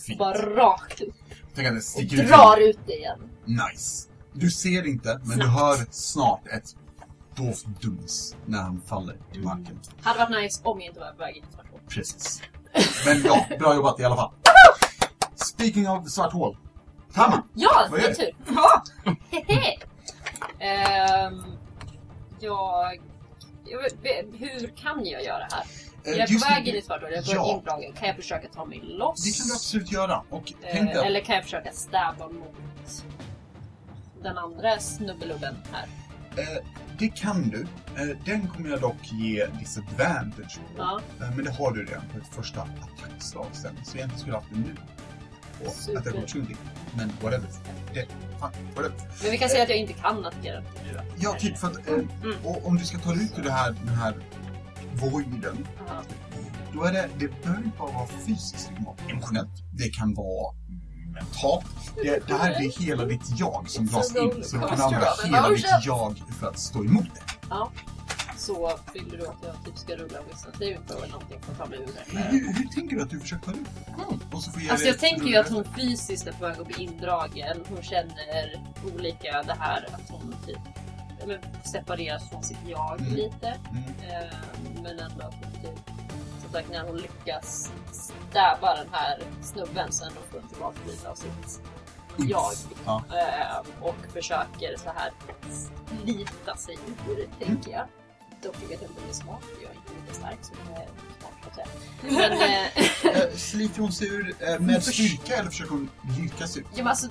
S2: Fint.
S5: Bara rakt upp
S2: Tänk att det
S5: och
S2: sticker ut.
S5: drar ut det igen.
S2: Nice. Du ser inte, men du
S5: Snabbt.
S2: hör snart ett dovt duns när han faller i marken.
S5: Hade varit nice om jag inte var på väg in i svart hål.
S2: Precis. Men ja, bra jobbat i alla fall. Speaking of svart hål. Tamma!
S5: Ja,
S2: Vad
S5: det
S2: gör
S5: är tur.
S7: Ja.
S5: Hehe. Ehm, jag... jag vet- Hur kan jag göra här?
S2: eh,
S5: jag är
S2: just
S5: på
S2: nu-
S5: väg in i svart hål, jag är på
S2: Ja.
S5: väg indragen. Kan jag försöka ta mig loss?
S2: Det kan du absolut göra. Och tänk
S5: eh,
S2: dig
S5: Eller kan jag försöka stäva mot den andra snubbelubben här?
S2: att eh, det kan du. Eh, den kommer jag dock ge disadvantage på.
S5: Ja.
S2: Eh, men det har du redan på ett första attackslag sen. Så egentligen skulle jag haft det nu. Och
S5: Super.
S2: attack opportunity. Men whatever. Det, fan, whatever.
S5: Men vi kan säga att jag inte kan attackera.
S2: Ja, typ
S5: Mm.
S2: för att eh, och om du ska ta dig ut ur det här, den här voiden,
S5: Ja.
S2: då då är det, det behöver inte bara vara fysiskt, det kan vara emotionellt, det kan vara mentalt. Det, det här är hela ditt jag som dras in, så du kan använda hela ditt jag för att stå emot det.
S5: Så vill du då att jag typ ska rulla Wisdom Saving Throw eller någonting för att ta mig ur det? eller?
S2: Hur, hur tänker du att du försöker ta dig ur? Och så får jag
S5: Alltså
S2: dig-
S5: jag tänker ju att hon fysiskt är på väg att bli indragen. Hon känner olika det här att hon typ ja, men, separeras från sitt jag
S2: Mm.
S5: lite.
S2: Mm.
S5: Eh, men ändå att hon typ, som sagt när hon lyckas stäva den här snubben så ändå får hon tillbaka lite av sitt jag.
S2: Ja.
S5: Eh, och försöker så här slita sig ur, tänker jag. Dock vet jag inte om det är smart, för jag är inte lika stark så det är smart så att säga. Men, eh,
S2: Eh, Sliter hon sig ur eh, med styrka eller försöker hon lyckas ut?
S5: Ja, men alltså,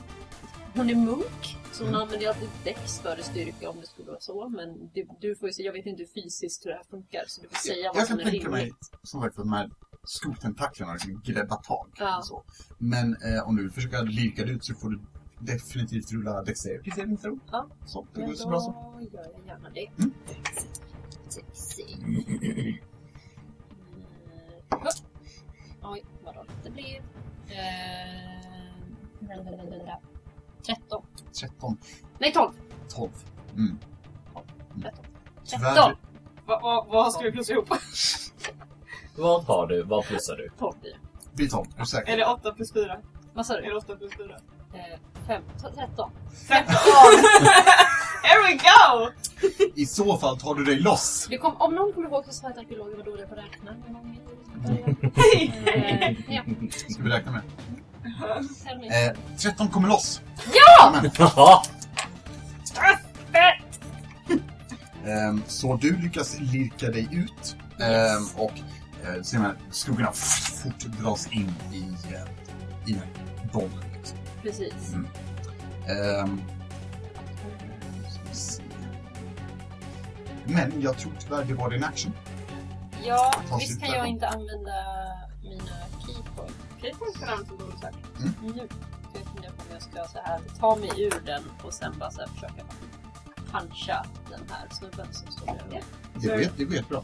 S5: hon är munk, så hon
S2: Mm.
S5: använder ju alltid Dex för styrka om det skulle vara så. Men du, du får ju se, jag vet inte hur fysiskt hur det här funkar, så du får säga
S2: Jag-
S5: vad
S2: jag
S5: som
S2: kan
S5: är
S2: tänka
S5: rimligt.
S2: mig- Som sagt, de här skottentaklarna liksom greppa tag.
S5: Ja.
S2: och Så. Men eh, om du vill försöka lirka dig ut så får du definitivt rulla Dexterity saving throw.
S5: Ja.
S2: Så, det
S5: Men
S2: går
S5: då
S2: så bra så.
S5: gör jag gärna det.
S2: Mm.
S5: Sexy. Mm. Hopp. Oj, vad dåligt det blev. Eh, 13.
S2: 13,
S5: Nej, 12.
S2: 12. Mm. Mm.
S5: 13.
S2: Tyvärr,
S7: Vad vad- vad ska vi plussa ihop?
S4: Vad har du? Vad plussar du?
S5: 12 blir det.
S2: vi tar på säkert.
S7: Eller 8 plus 4?
S5: Vad sa du?
S7: Eller 8 plus 4?
S5: Eh, 5, 13.
S7: 13! Here we go!
S2: I så fall tar du dig loss.
S5: Det kom, om någon kommer ihåg så sa jag att arkeologer var dåliga på att räkna. Hur många är det? Eh, ja,
S2: Ska vi räkna med.
S5: tell me.
S2: Eh, 13 kommer loss.
S4: Jaha!
S2: Ehm, så du lyckas lirka dig ut. Ehm, och eh, ser man skuggorna f- fort dras in i, eh, i den här bollen. Liksom.
S5: Precis.
S2: Ehm, ska vi se. men jag tror tyvärr det var din action.
S5: Ja,
S2: Ta
S5: visst
S2: slut
S5: kan
S2: där.
S5: jag inte använda mina keypoint
S7: Keypoint kan användas som bonusaction.
S2: Mm.
S5: nu. För jag funderar på om jag ska så här, ta mig ur den och sen bara så här försöka puncha den här snubben som står bredvid.
S2: Det
S5: Mm.
S2: går, jätte- det går jättebra.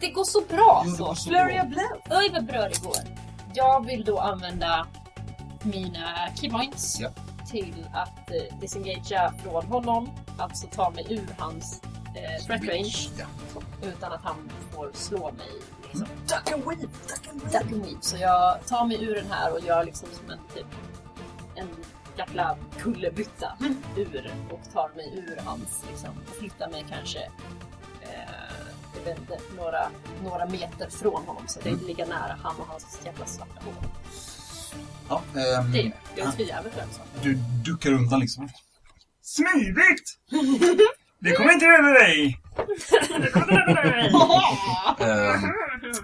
S5: Det går så bra
S2: Jo, det
S5: så!
S2: går så
S5: Flurry
S2: bra.
S5: of blows! Oj vad bra det går! Jag vill då använda mina keypoints
S2: Ja.
S5: till att eh, disengagea från honom, alltså ta mig ur hans eh, threat range
S2: Ja.
S5: utan att han får slå mig. Liksom. Duck and weave! Så jag tar mig ur den här och gör liksom som en typ en jäkla kullerbytta ur och tar mig ur hans liksom och flyttar mig kanske eh, jag vet inte, några, några meter från honom så att jag inte ligger nära han och hans jävla svarta hår.
S2: Ja, ehm,
S5: Det är jag tvivlar den så.
S2: du duckar undan liksom.
S8: Smidigt! Det kommer inte över dig!
S2: Ehm,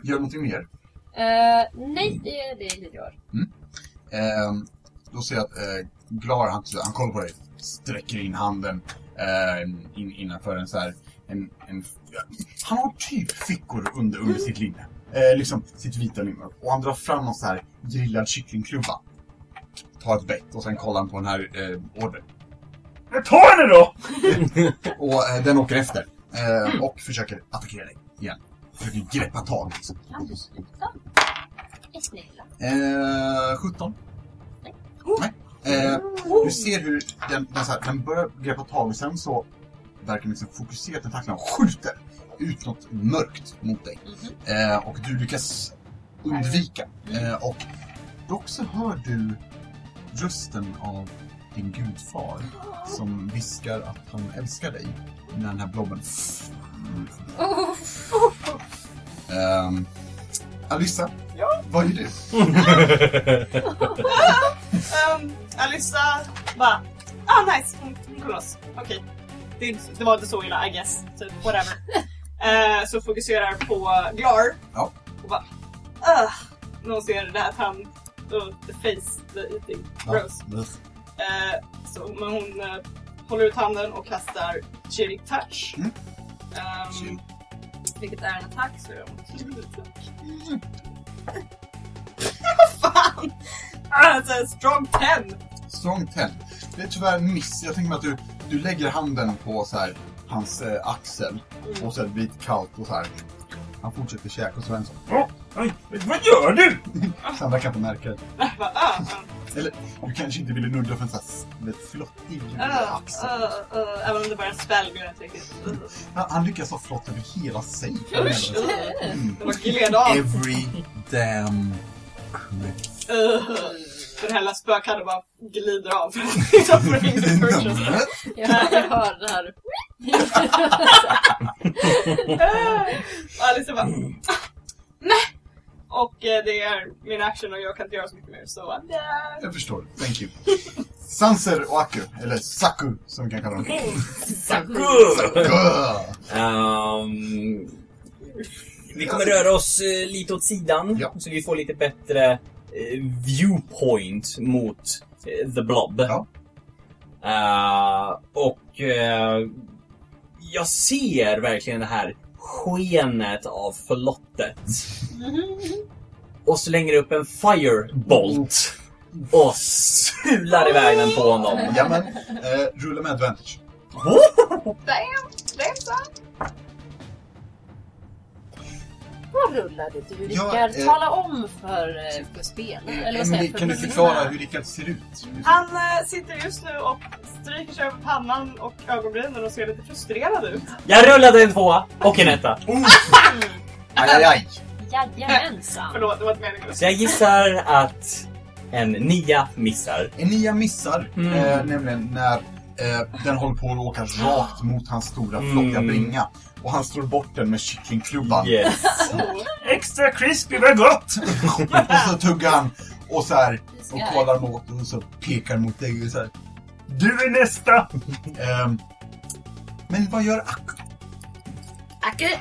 S2: gör någonting mer.
S5: Eh, nej, det är det jag gör.
S2: Ehm, då ser jag att eh, Glar, han, han kollar på dig, sträcker in handen ehm, in, innanför en så här... En, en, han har typ fickor under, under sitt linne. Eh, liksom sitt vita linne. Och han drar fram någon så här grillad kycklingklubba. Tar ett bett och sen kollar han på den här eh, order.
S8: Ta henne då!
S2: Och eh, den åker efter. Eh, och försöker attackera dig igen. Försöker greppa tag. Liksom.
S5: Kan du sluta? Är snälla.
S2: Eh, 17.
S5: Nej.
S2: Nej. Eh, du ser hur den, den, så här, den börjar greppa tag och sen så verkar den liksom fokusera tentaklerna och skjuter ut något mörkt mot dig. Eh, och du lyckas undvika. Eh, och dock så hör du rösten av din gudfar som viskar att han älskar dig när den här blobben... Ehm, Alissa, vad gör du?
S7: Um, Alissa bara, ah nice, hon, hon kom loss. Okej. Det, är inte- det var inte så illa, I guess. Typ, whatever. Eh, så fokuserar på Glar.
S2: Ja.
S7: Och bara, ah. När hon ser det här tand, och the face, the eating, gross. Eh, så, men hon eh, håller ut handen och kastar Chiri Touch.
S2: Mm.
S7: Ehm,
S2: Chilling.
S7: vilket är en attack, så jag måste Fan! Ah, så här strong pen!
S2: Strong 10. Det är tyvärr en miss. Jag tänker mig att du, du lägger handen på så här, hans eh, axel
S7: Mm.
S2: och så är det lite kallt och så här. Han fortsätter käka och så är han så.
S8: Oj, vad gör du?
S2: Sandra kan inte märka det.
S7: Bara, ah, ah.
S2: Eller, du kanske inte ville nudda för en sån här med flottig
S7: Ah,
S2: axel.
S7: ah, ah. Även om det bara är en spell går det inte riktigt.
S2: Han, han lyckas ha flott över hela Mm. sig.
S7: Usch! Det var gled av.
S2: Every damn...
S7: Uh, Den hela spökhatten bara glider av. Liksom för ingen person.
S5: Jag hör, jag hör det här.
S7: Och Alice bara... "Ah, Nej! Och eh, det är min action och jag kan inte göra så mycket mer så... eh,
S2: Jag förstår. Thank you. Sanser och Aku, eller Saku som vi kan kalla honom. Gah!
S8: Ehm, vi kommer röra oss eh, lite åt sidan
S2: Ja.
S8: så vi får lite bättre eh, viewpoint mot eh, the blob.
S2: Ja.
S8: Eh, och eh, jag ser verkligen det här skenet av förlottet. Och så länger upp en firebolt och sular iväg den på honom.
S2: Jamen, eh, rulla med advantage.
S9: Damn! Damn son!
S5: Vad rullade du
S2: Ja,
S5: Rickard?
S2: eh, typ
S5: Tala om för, eh, för spel. Eller vad säger
S2: Emily,
S5: jag, för
S2: kan du
S5: personerna.
S2: förklara hur Rickard ser ut?
S7: Han eh, sitter just nu och stryker sig över pannan och ögonbrynen och ser lite frustrerad ut.
S8: Jag rullade en tvåa och en etta.
S2: Oh! Aj, aj, aj.
S5: Jajamensan.
S7: Förlåt, det var inte meningen.
S8: Så jag gissar att en nia missar.
S2: En nia missar,
S8: Mm.
S2: eh, nämligen när eh, den håller på att
S5: Ah.
S2: åka rakt mot hans stora flockiga
S8: Mm.
S2: bringa. Och han slår bort den med kycklingklubban.
S8: Yes.
S7: Oh.
S8: Extra crispy, vad gott!
S2: Och så tuggar han och så här och
S5: Ja.
S2: kollar mot och så pekar mot dig och så här.
S8: Du är nästa!
S2: Ehm, men vad gör Ak?
S6: Acke,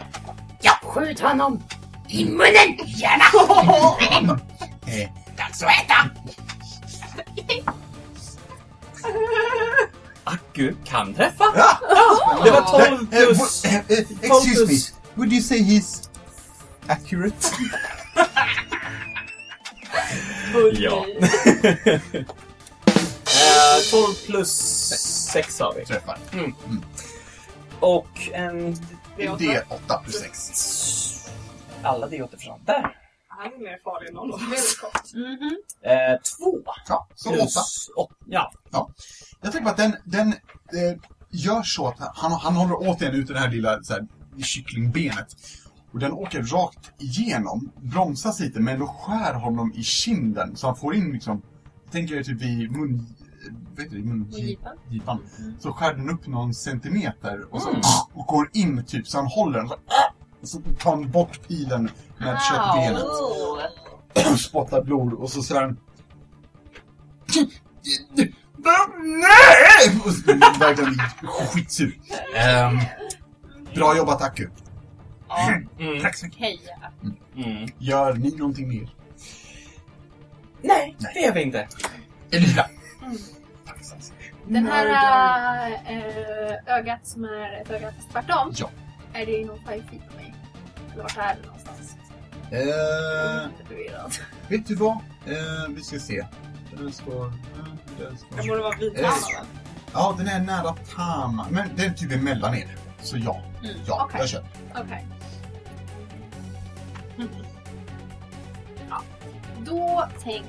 S6: jag skjut honom i munnen, gärna!
S2: Eh,
S6: Dags att äta!
S8: Aku Ah, kan träffa!
S2: Ja!
S8: Ah. Det var 12
S2: eh, eh,
S8: plus...
S2: eh, eh, excuse
S8: Tolv
S2: me,
S8: plus.
S2: would you say he's accurate?
S8: Ja. Eh, 12 plus 6 har vi.
S2: Träffar.
S8: Och en...
S7: Det är åtta.
S2: Det är 8 plus 6.
S8: Alla det åter fram. Där!
S7: Han är mer farlig än någon av oss.
S5: Mhm.
S8: Eh, två
S2: Ja, så 8.
S8: plus åtta. Ja.
S2: Jag tänker på att den, den eh, gör så att han, han håller återigen ut det här lilla så här, kycklingbenet. Och den åker rakt igenom, bromsas lite men då skär honom i kinden så han får in liksom, tänker jag typ i mun... eh, Vad heter det?
S5: Mungipan.
S2: Mungipan. Så skär den upp någon centimeter och så och går in typ så han håller den så, och så tar han bort pilen med köttbenet
S5: Åh.
S2: spottar blod och så säger han Nej! Och så Verkligen skitsur. Ehm, bra jobbat Aku.
S8: Mm.
S2: Tack så mycket.
S5: Heja.
S8: Mm.
S2: Gör ni någonting mer?
S8: Nej,
S2: Nej.
S8: det är vi inte.
S2: Elvira.
S9: Den här äh, ögat som är ett öga fast tvärtom.
S2: Ja.
S9: Är det inom 5 feet på mig? Eller vart är det någonstans?
S2: Eh,
S9: Lite förvirrad.
S2: vet du vad? Eh, vi ska se. Den står... den står-
S7: Jag borde vara
S2: Eh,
S7: vidtannad.
S2: Ja, den är nära Tama. Men den är typ emellan er. Så ja.
S5: Mm,
S2: Ja,
S9: okej.
S2: jag köper.
S9: Okej.
S5: Då tänk...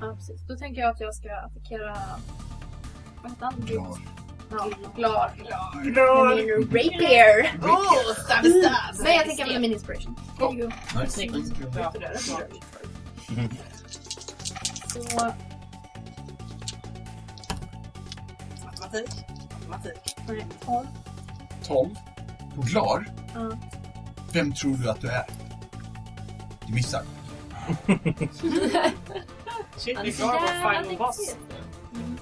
S9: Ja, precis. Då tänker jag att jag ska attackera... Vad heter han?
S2: Glar.
S9: Ja, Glar.
S8: Glar.
S9: Min Rapier!
S7: Oh, stab, stab!
S9: Nej, Mm. jag tänker använda min inspiration. There you go.
S2: Nice.
S5: Snyggt.
S7: Ja, det är smart.
S9: Så,
S7: Matematik. Matematik.
S9: nej, 12.
S2: 12. På Glar.
S9: Ja.
S2: Vem tror du att du är? Du missar.
S7: Shit,
S5: Han är
S7: vi
S5: så
S7: klarar vår
S5: jävla
S7: final boss.
S5: duktig. Mm.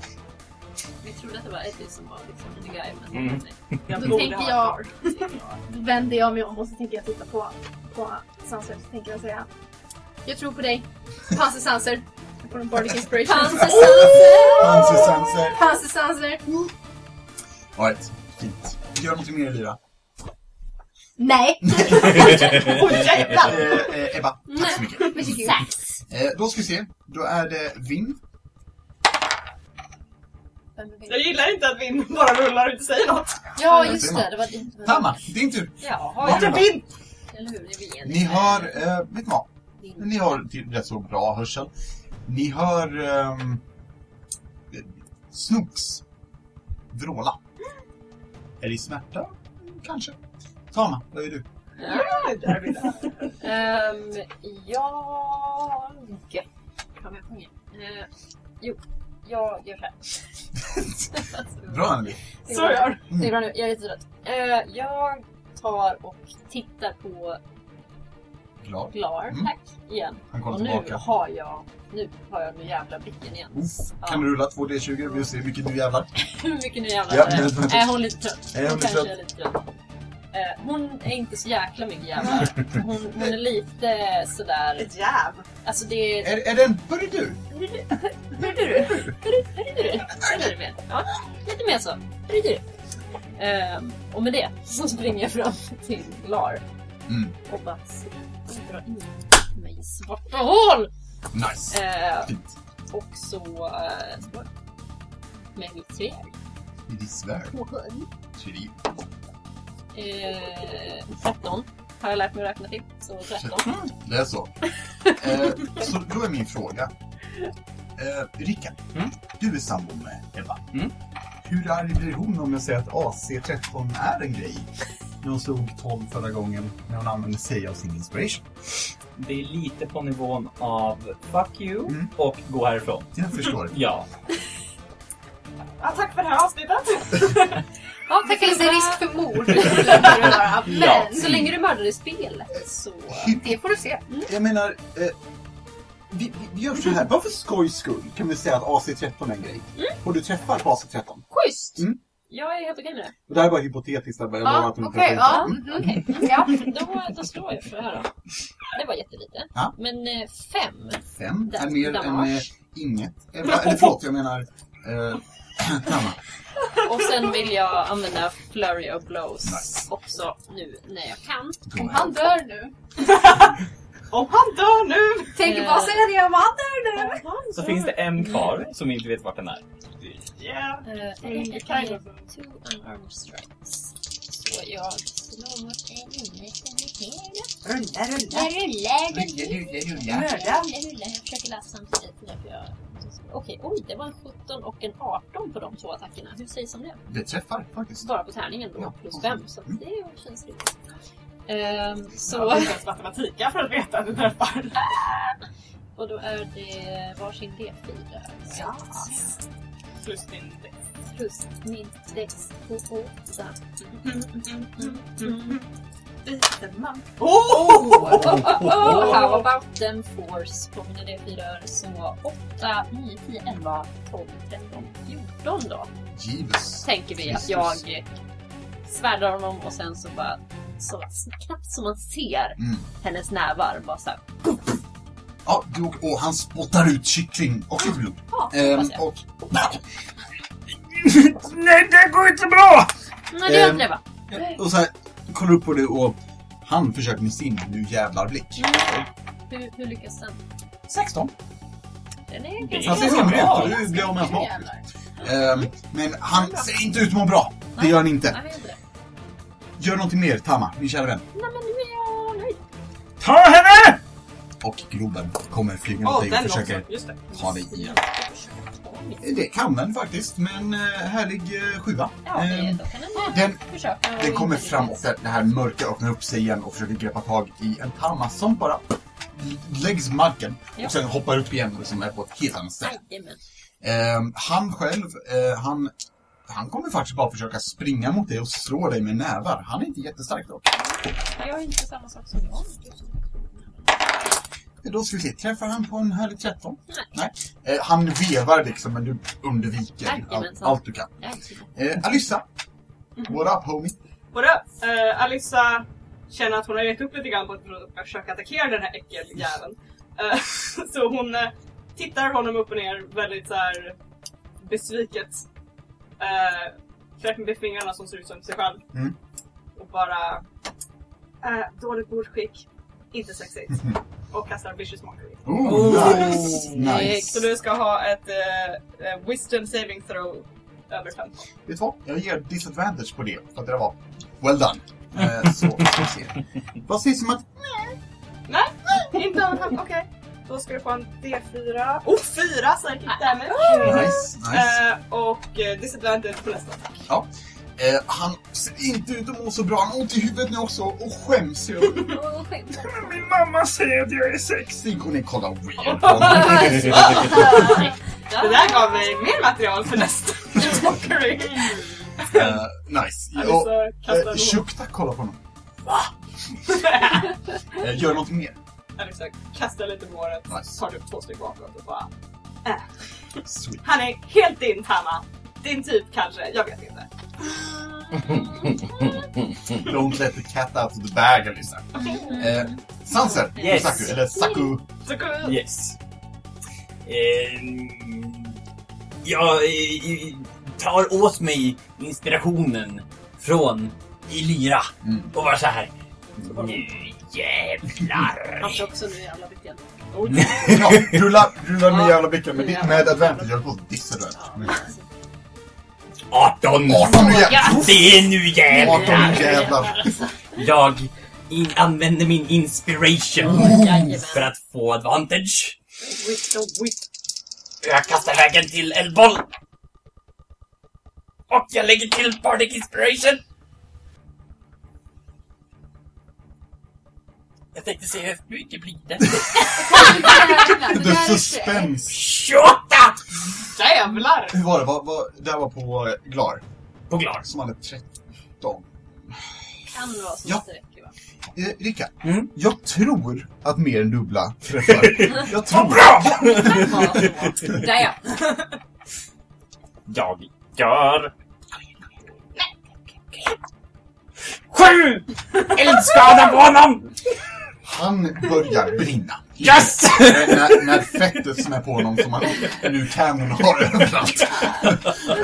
S5: Vi trodde att det var Eddie som var liksom the guy, men
S8: Mm.
S5: nej.
S7: Jag
S9: Då
S7: borde
S9: tänker
S7: ha
S9: jag-
S7: kvar.
S9: Då vänder jag mig om och så tänker jag titta på, på Sanser. Så tänker jag säga... Jag tror på dig. Panser Sanser. Jag får en Bardic inspiration.
S5: Panser
S2: Hanser Sanser.
S9: Panser Sanser!
S2: Alright, fint. Gör någonting mer Elvira.
S9: Nej!
S7: Åh jävlar!
S2: Eh, eh, Ebba, tack så mycket.
S6: Sax!
S2: Eh, då ska vi se. Då är det Vinn.
S5: Vem vet?
S7: Jag gillar inte att Vinn bara rullar och inte säger något.
S5: Ja, just det. Det var det.
S2: Tamma, din tur.
S5: Ja,
S2: Vad
S7: Inte
S2: rullar?
S7: Vinn!
S5: jag Eller hur? Det är vi
S2: Ni hör, eh, vet ni vad? Ni har till- rätt så bra hörsel. Ni hör ehm, eh, Snooks vråla. Är det i smärta? Kanske. Tama, vad är du?
S7: Där vi där.
S5: Ehm, jag... Kom jag på inget. Eh, jo, jag gör så här. Alltså,
S2: Bra Anneli.
S5: Det är bra.
S2: Mm.
S5: Det är bra nu, jag är jättetrött. Eh, jag tar och tittar på
S2: Glad.
S5: Glar,
S2: Mm.
S5: tack, igen.
S2: Han kollar
S5: Och nu
S2: tillbaka.
S5: har jag, nu har jag den jävla blicken igen.
S2: Oof,
S5: Ja.
S2: kan du rulla 2D20? Vi ser hur mycket du jävlar.
S5: Hur mycket nu jävlar
S2: Ja,
S5: är det?
S2: men- men-
S5: Är hon lite trött?
S2: Är hon lite
S5: kanske
S2: trött?
S5: är lite trött. Eh, hon är inte så jäkla mycket jävlar. Hon, hon är lite sådär...
S7: Ett jäv.
S5: Alltså det är...
S2: Är, är det en burdu?
S5: Eller mer. Ja, lite mer så. Ehm, och med det så springer jag fram till Lar
S2: Mm.
S5: och bara drar in mig i svarta hål!
S2: Nice.
S5: Eh,
S2: Fint.
S5: och så eh, slår jag med mitt svärd
S2: Det är svärd.
S5: på hörn.
S2: Tri-
S5: Eh, 13 har jag lärt mig att räkna till. Så 13.
S2: Mm. Det är så. eh, så då är min fråga. Eh, Rickard,
S4: Mm.
S2: du är sambo med Ebba.
S4: Mm.
S2: Hur arg blir hon om jag säger att AC13 är en grej? När hon slog 12 förra gången när hon använde sig av sin inspiration.
S8: Det är lite på nivån av fuck you
S2: Mm.
S8: och gå härifrån.
S2: Jag förstår.
S9: Mm.
S8: Ja.
S7: Ja, tack för det här avsnittet.
S9: Ja, tack eller risk för mord.
S8: Ja.
S9: Men
S5: Så länge du mördar i spelet så...
S9: det får du se.
S2: Jag menar, eh, vi, vi, vi gör så här. Bara för skojs skull kan vi säga att AC13 är en grej.
S9: Mm.
S2: Och du träffar på AC13.
S5: Schysst!
S2: Mm.
S5: Jag är helt okej med det.
S2: Och det här är bara hypotetiskt. Jag bara lovar
S9: Ja,
S2: att de inte
S9: okej.
S2: träffar
S9: Ja,
S2: inte.
S9: mhm. ja.
S5: Då, då slår jag för det här då. Det var jättelite.
S2: Ja.
S5: Men eh, fem.
S2: Fem är
S5: Dam-
S2: mer än
S5: damage.
S2: eh, inget. Ebba, eller förlåt, jag menar... Eh, Tamma.
S5: Och sen vill jag använda Flurry of Blows
S2: Nice.
S5: också nu när jag kan.
S9: Om han dör nu.
S7: Om han dör nu!
S9: Tänker bara säga det om han dör nu.
S8: Så finns det en kvar som vi inte vet vart den är.
S7: Yeah.
S5: Uh, kind of two unarmed strikes. Så jag slår mot en inne som är hela.
S7: Rulla, rulla.
S5: Jag rullar, jag
S7: Mörda.
S5: rullar, jag försöker läsa samtidigt. därför jag- Okej, oj, det var en 17 och en 18 på de två attackerna. Hur sägs om det?
S2: Det träffar faktiskt.
S5: Bara på tärningen då,
S2: Ja.
S5: plus 5. Så att det känns riktigt. Ehm,
S7: Jag
S5: så,
S7: har inte ens matematik här för att veta att du träffar.
S5: och då är det varsin D4.
S7: Ja. Plus din
S5: plus min dex på åtta.
S7: Oh!
S5: Och how about them fours på mina D4 så 8, 9, 10, 11, 12, 13, 14 då.
S2: Jeeves.
S5: Tänker vi att jag svärdar honom och sen så bara så knappt som man ser
S2: Mm.
S5: hennes nävar bara såhär.
S2: Ja, du och, och han spottar ut kyckling och lite blod. Ehm,
S5: jag.
S2: och... Nej, det går inte bra!
S5: Nej det gör
S2: Ehm.
S5: inte det va?
S2: Och så här, kollar upp på det och han försöker med sin nu jävlar blick.
S5: Hur, hur lyckas den?
S2: 16.
S5: Den är
S8: Det är
S5: ganska
S2: Han ser
S8: ganska
S2: som
S8: bra.
S2: ut och du blir av med hans
S5: bra.
S2: mat. Ehm, Men han ser inte ut att må bra. Det gör han inte.
S5: Nej, inte.
S2: Gör någonting mer, Tama, min kära vän.
S5: Nej men nu är jag nöjd.
S2: Ta henne! Och Globen kommer flyga mot
S7: Åh,
S2: dig
S7: den
S2: och försöker
S7: också. Just det.
S2: ta dig igen.
S5: Åh, mitt-
S2: Det kan den faktiskt, men eh, härlig eh, sjua.
S5: Ja, det,
S2: Ehm,
S5: då kan den
S2: den,
S5: försöka.
S2: den
S5: och
S2: kommer
S5: inte
S2: fram och
S5: lyckas.
S2: det det här mörka öppnar upp sig igen och försöker greppa tag i en tamma som bara läggs på marken
S5: Ja.
S2: och sen hoppar upp igen och liksom är på ett helt annat ställe.
S5: Jajamän.
S2: Ehm, han själv, eh, han, han kommer faktiskt bara försöka springa mot dig och slå dig med nävar. Han är inte jättestark dock.
S5: Jag gör inte samma sak som jag.
S2: Då ska vi se, träffar han på en härlig 13? Nej. Eh, han vevar liksom men du undviker allt,
S5: Jajamensan.
S2: allt du kan.
S5: Jag är inte så-
S2: Eh, Alyssa! What up homie?
S7: Både uh, Alissa känner att hon har gett upp lite grann på att försöka attackera den här äckeljäveln. Eh, så hon eh, tittar honom upp och ner väldigt så här besviket. Uh, Fläcker med fingrarna som ser ut som sig själv.
S2: Mm.
S7: Och bara... eh, dåligt bordskick. Inte sexigt.
S2: Mm-hmm.
S7: och kastar vicious mockery.
S2: Oh, nice! Nice!
S7: Eh, Så du ska ha ett eh, eh, wisdom saving throw över 15.
S2: Vet du vad? Jag ger disadvantage på det för att det där var well done. Eh, Så ska vi se. Vad sägs om att...
S7: Inte av Okej. Då ska du få en D4. Oh, 4 psychic damage!
S2: Nice, nice.
S7: Eh, och eh, disadvantage på nästa.
S2: Eh, han ser inte ut att må så bra. Han har ont i huvudet nu också och skäms ju.
S5: Åh, skämt.
S2: Men Min mamma säger att jag är sexig. Och ni kollar weird på
S7: Det där gav mig mer material för nästa Mockery.
S2: uh, Nice. Och,
S7: Alltså,
S2: eh,
S7: kastar låda.
S2: Shukta kollar på honom. Va? Eh, Gör något mer.
S7: Alltså, kastar lite på håret,
S2: Nice.
S7: tar du två steg bakåt och bara
S2: Sweet.
S7: Han är helt din Hanna. Din typ kanske, jag vet inte.
S2: Don't let the cat out of the bag, Alisa. Eh, Sanser.
S8: Mm. Yes.
S2: Saku. Eller Saku.
S7: Så kom ut.
S8: Yes. Ehm, jag eh, tar åt mig inspirationen från Elira
S2: Mm.
S8: och var så här. Nu jävlar!
S5: Han får också nu jävla viktiga.
S2: Ja, rulla, rulla med jävla blicken med, ditt- med advantage. Jag går på disadvantage.
S8: 18!
S2: 18 nu jävlar!
S8: Det är nu
S2: 18
S8: jävlar!
S2: nu jävlar!
S8: Jag in- använder min inspiration
S5: Jajamän.
S8: för att få advantage.
S7: With the whip.
S8: Jag kastar vägen till eldboll. Och jag lägger till Bardic Inspiration. Jag tänkte se hur mycket blir det?
S2: The suspense!
S8: 28!
S7: Jävlar!
S2: Hur var det? Var, var, det här var på eh, Glar,
S8: På glas.
S2: som hade 13.
S5: Kan vara så
S2: Ja.
S5: att det räcker va?
S2: Eh, Rika,
S8: Mm.
S2: jag tror att mer än dubbla träffar. jag tror...
S5: Bara så. Där ja.
S8: Jag gör... Sju! Eldskada på honom!
S2: Han börjar brinna.
S8: Yes!
S2: Eh, när, när fettet som är på honom som han nu kan ha överallt.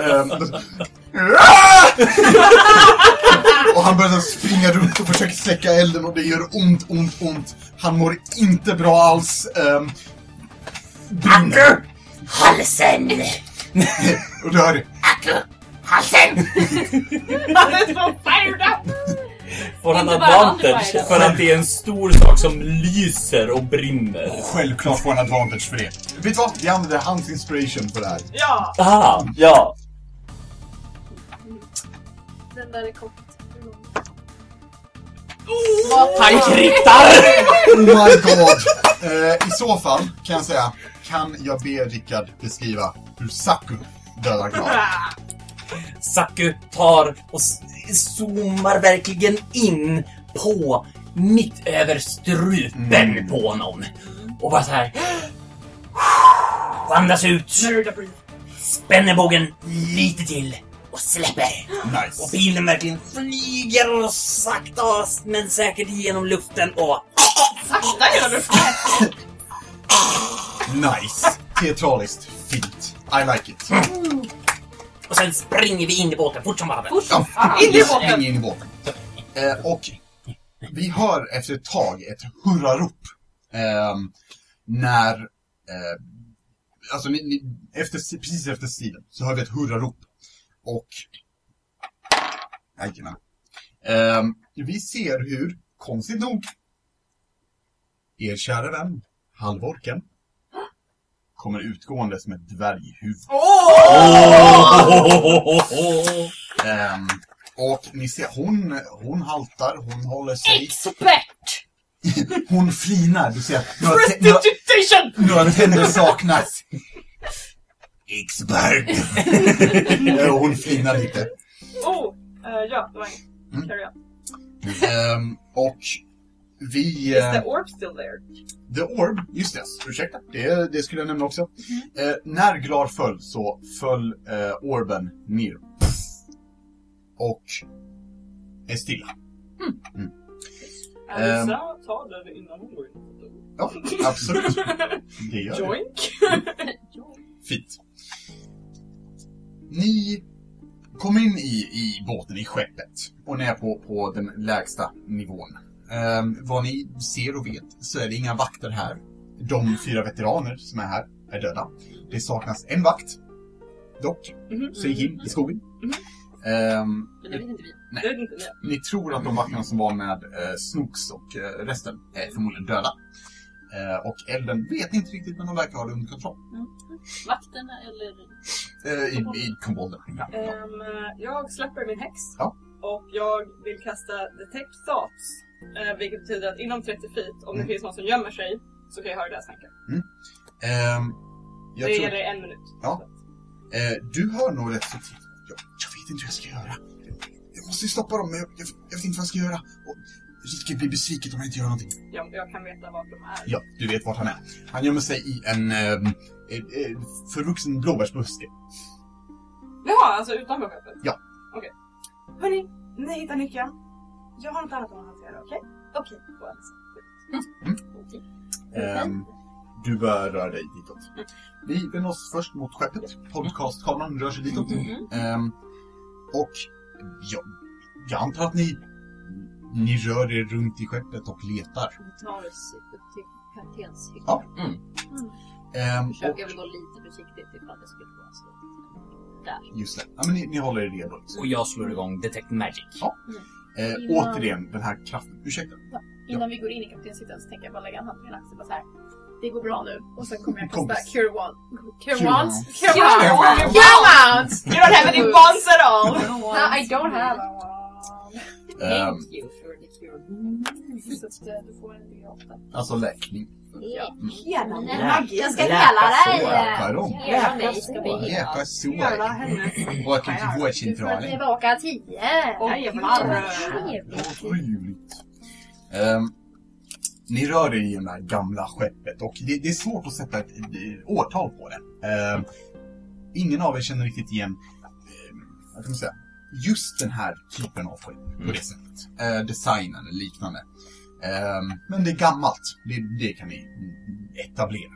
S2: Ehm, då- och han börjar springa runt och försöker släcka elden och det gör ont, ont, ont. Han mår inte bra alls. Um,
S6: Aku! Halsen!
S2: och du hör det.
S6: Aku! Halsen!
S7: Han är så fired up!
S8: Får han
S5: Inte bara
S8: advantage
S5: Underbite.
S8: för att det är en stor sak som lyser och brinner?
S2: Självklart får han advantage för det. Vet du vad? Vi använder hans inspiration för det här.
S7: Ja!
S8: Ah, ja.
S9: Den där är kort.
S8: Han kritar!
S2: Oh my god! Eh, I så fall kan jag säga, kan jag be Rickard beskriva hur Saku dödar Glad?
S8: Saku tar och s- zoomar verkligen in på mitt över strupen
S2: Mm.
S8: på honom. Och bara så här. Och andas ut. Spänner bågen lite till och släpper. Och
S2: Nice.
S8: bilen verkligen flyger och sakta men säkert genom luften och
S7: Sakta gör du!
S2: Nice. Teatraliskt. Fint. I like it.
S8: Och sen springer vi in i båten fort som bara Fort.
S2: Ja,
S7: In i båten.
S2: släng in i båten. Eh, och vi hör efter ett tag ett hurrarop. ehm, när... Eh, alltså, ni, ni, efter, precis efter striden så hör vi ett hurrarop. Och... Jajamän. Ehm, vi ser hur, konstigt nog, er kära vän, halvorken, kommer utgående som ett dvärghuvud. Ehm, och ni ser, hon, hon haltar, hon håller sig.
S5: Expert!
S2: Hon flinar, du ser. Några, te- några, några tänder saknas. Expert! Eh, och hon flinar lite.
S7: Oh! eh, ja, det var inget.
S2: Mm.
S7: Carry on.
S2: Ehm, och vi... eh,
S7: Is the orb still there?
S2: The Orb, just det, ursäkta. Det, det skulle jag nämna också. Eh, när Glar föll så föll eh, Orben ner. Och är stilla. Ehm.
S7: Alisa tar den innan hon går in.
S2: Ja, absolut. Det gör det.
S7: Joink!
S2: Fint. Ni kom in i, i båten, i skeppet. Och ni är på, på den lägsta nivån. Ehm, vad ni ser och vet så är det inga vakter här. De fyra veteraner som är här är döda. Det saknas en vakt. Dock.
S7: Mhm.
S2: Som gick in i skogen. Ehm,
S5: Men det vet inte vi.
S2: Nej.
S7: Det vet inte vi.
S2: Ni tror att de vakterna som var med eh, Snooks och eh, resten är förmodligen döda. Eh, och elden vet ni inte riktigt men de verkar ha det under kontroll.
S5: Vakterna eller...
S2: Eh, I i kobolden. Ja, ja.
S7: Ehm, jag släpper min häx.
S2: Ja.
S7: Och jag vill kasta Detect Thoughts. eh, vilket betyder att inom 30 feet, om det
S2: Mm.
S7: finns någon som gömmer sig, så kan jag höra deras tankar.
S2: Ehm, jag
S7: det
S2: tror,
S7: gäller en minut.
S2: Ja. eh, du hör nog rätt så tidigt. Jag, jag vet inte hur jag ska göra. Jag måste ju stoppa dem men jag, jag, jag vet inte vad jag ska göra. Och Rike blir besviken om jag inte gör någonting.
S7: Jag, jag kan veta var de är.
S2: Ja, du vet vart han är. Han gömmer sig i en eh, eh, eh, förvuxen blåbärsbuske.
S7: Jaha, alltså utanför skeppet?
S2: Ja.
S7: Okej. Hörni, ni hittar nyckeln. Jag har något annat att hantera, okej? Okej. då är det så.
S2: Ehm, du bör röra dig ditåt. Vi befinner oss först mot skeppet. Podcastkameran rör sig ditåt. Ehm, och jag, jag antar att ni, ni rör er runt i skeppet och letar.
S5: Vi tar oss upp till kaptenshytten.
S2: Ja. Ehm, och,
S5: Försöker väl gå lite försiktigt ifall det skulle vara så. Där.
S2: just det. Ja, men ni, ni håller er redo. Liksom.
S8: Och jag slår igång Detect Magic.
S2: Eh,
S9: innan-
S2: återigen, den här kraften. Ursäkta.
S9: Innan vi går in i kaptenshytten så tänker jag bara lägga en hand på min axel och bara så här. Det går bra nu. Och sen kommer jag kasta
S2: Kompis.
S9: Cure Wands.
S2: Cure
S9: Cure Wands?
S2: wands.
S9: Cure Wands! Cure Wands!
S7: You don't have any bonds at all!
S9: No, I don't have a wand.
S2: Ehm,
S5: Ehm, Thank you for the cure.
S9: Så att eh, du får en D8.
S2: alltså läkning.
S7: Hela
S8: Nej.
S9: Jag ska
S8: Läka
S9: hela dig!
S8: så.
S2: Läkar om.
S5: Hela mig ska vi
S2: Läkar
S5: hela.
S7: Hela
S2: sår.
S7: hennes...
S2: Och kan inte gå
S9: Du får
S2: centralen.
S9: tillbaka 10!
S7: Och
S5: Jajamän.
S7: Malmö.
S2: Otroligt. Ehm, ni rör er i det här gamla skeppet och det, det är svårt att sätta ett, eh, årtal på det. Ehm, ingen av er känner riktigt igen ehm, vad kan man säga, just den här typen av skepp på det sättet. Eh, designen eller liknande. Ehm, men det är gammalt, det, det kan ni mm, etablera.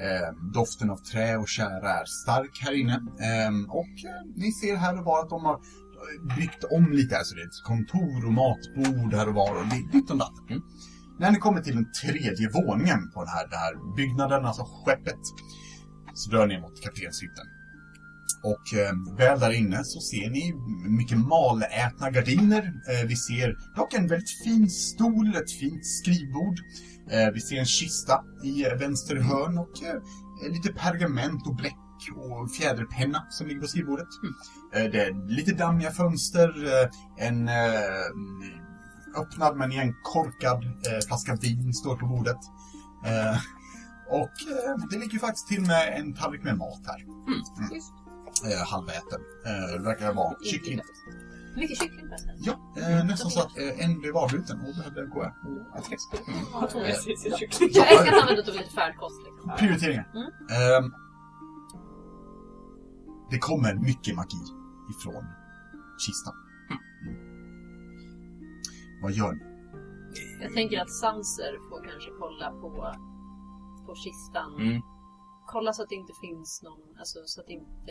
S2: Ehm, doften av trä och tjära är stark här inne. Ehm, och eh, ni ser här och var att de har byggt om lite här så det är ett kontor och matbord här och var och li- ditt och datt. När ni kommer till den tredje våningen på den här, den här byggnaden, alltså skeppet, så drar ni mot kaptenshytten. Och eh, väl där inne så ser ni mycket malätna gardiner. Eh, vi ser dock en väldigt fin stol, ett fint skrivbord. Eh, vi ser en kista i eh, vänster hörn och eh, lite pergament och bläck och fjäderpenna som ligger på skrivbordet.
S5: Mm.
S2: Eh, Det är lite dammiga fönster, eh, en eh, öppnad men igen korkad eh, flaska vin står på bordet. Eh, och eh, det ligger ju faktiskt till med en tallrik med mat här. Mm. Eh, halväten. Eh, det verkar vara kyckling.
S5: Mycket kyckling förresten.
S2: Ja, eh, nästan så att eh, en blev avbruten och behövde gå och äta kex.
S7: Hon tog med sig sin kyckling.
S5: Jag älskar att han ändå tog lite färdkost liksom.
S2: Prioriteringar.
S5: Mm.
S2: Ehm, det kommer mycket magi ifrån kistan. Mm. Vad gör ni?
S5: Jag tänker att Sanser får kanske kolla på, på kistan.
S8: Mm.
S5: Kolla så att det inte finns någon, alltså så att det inte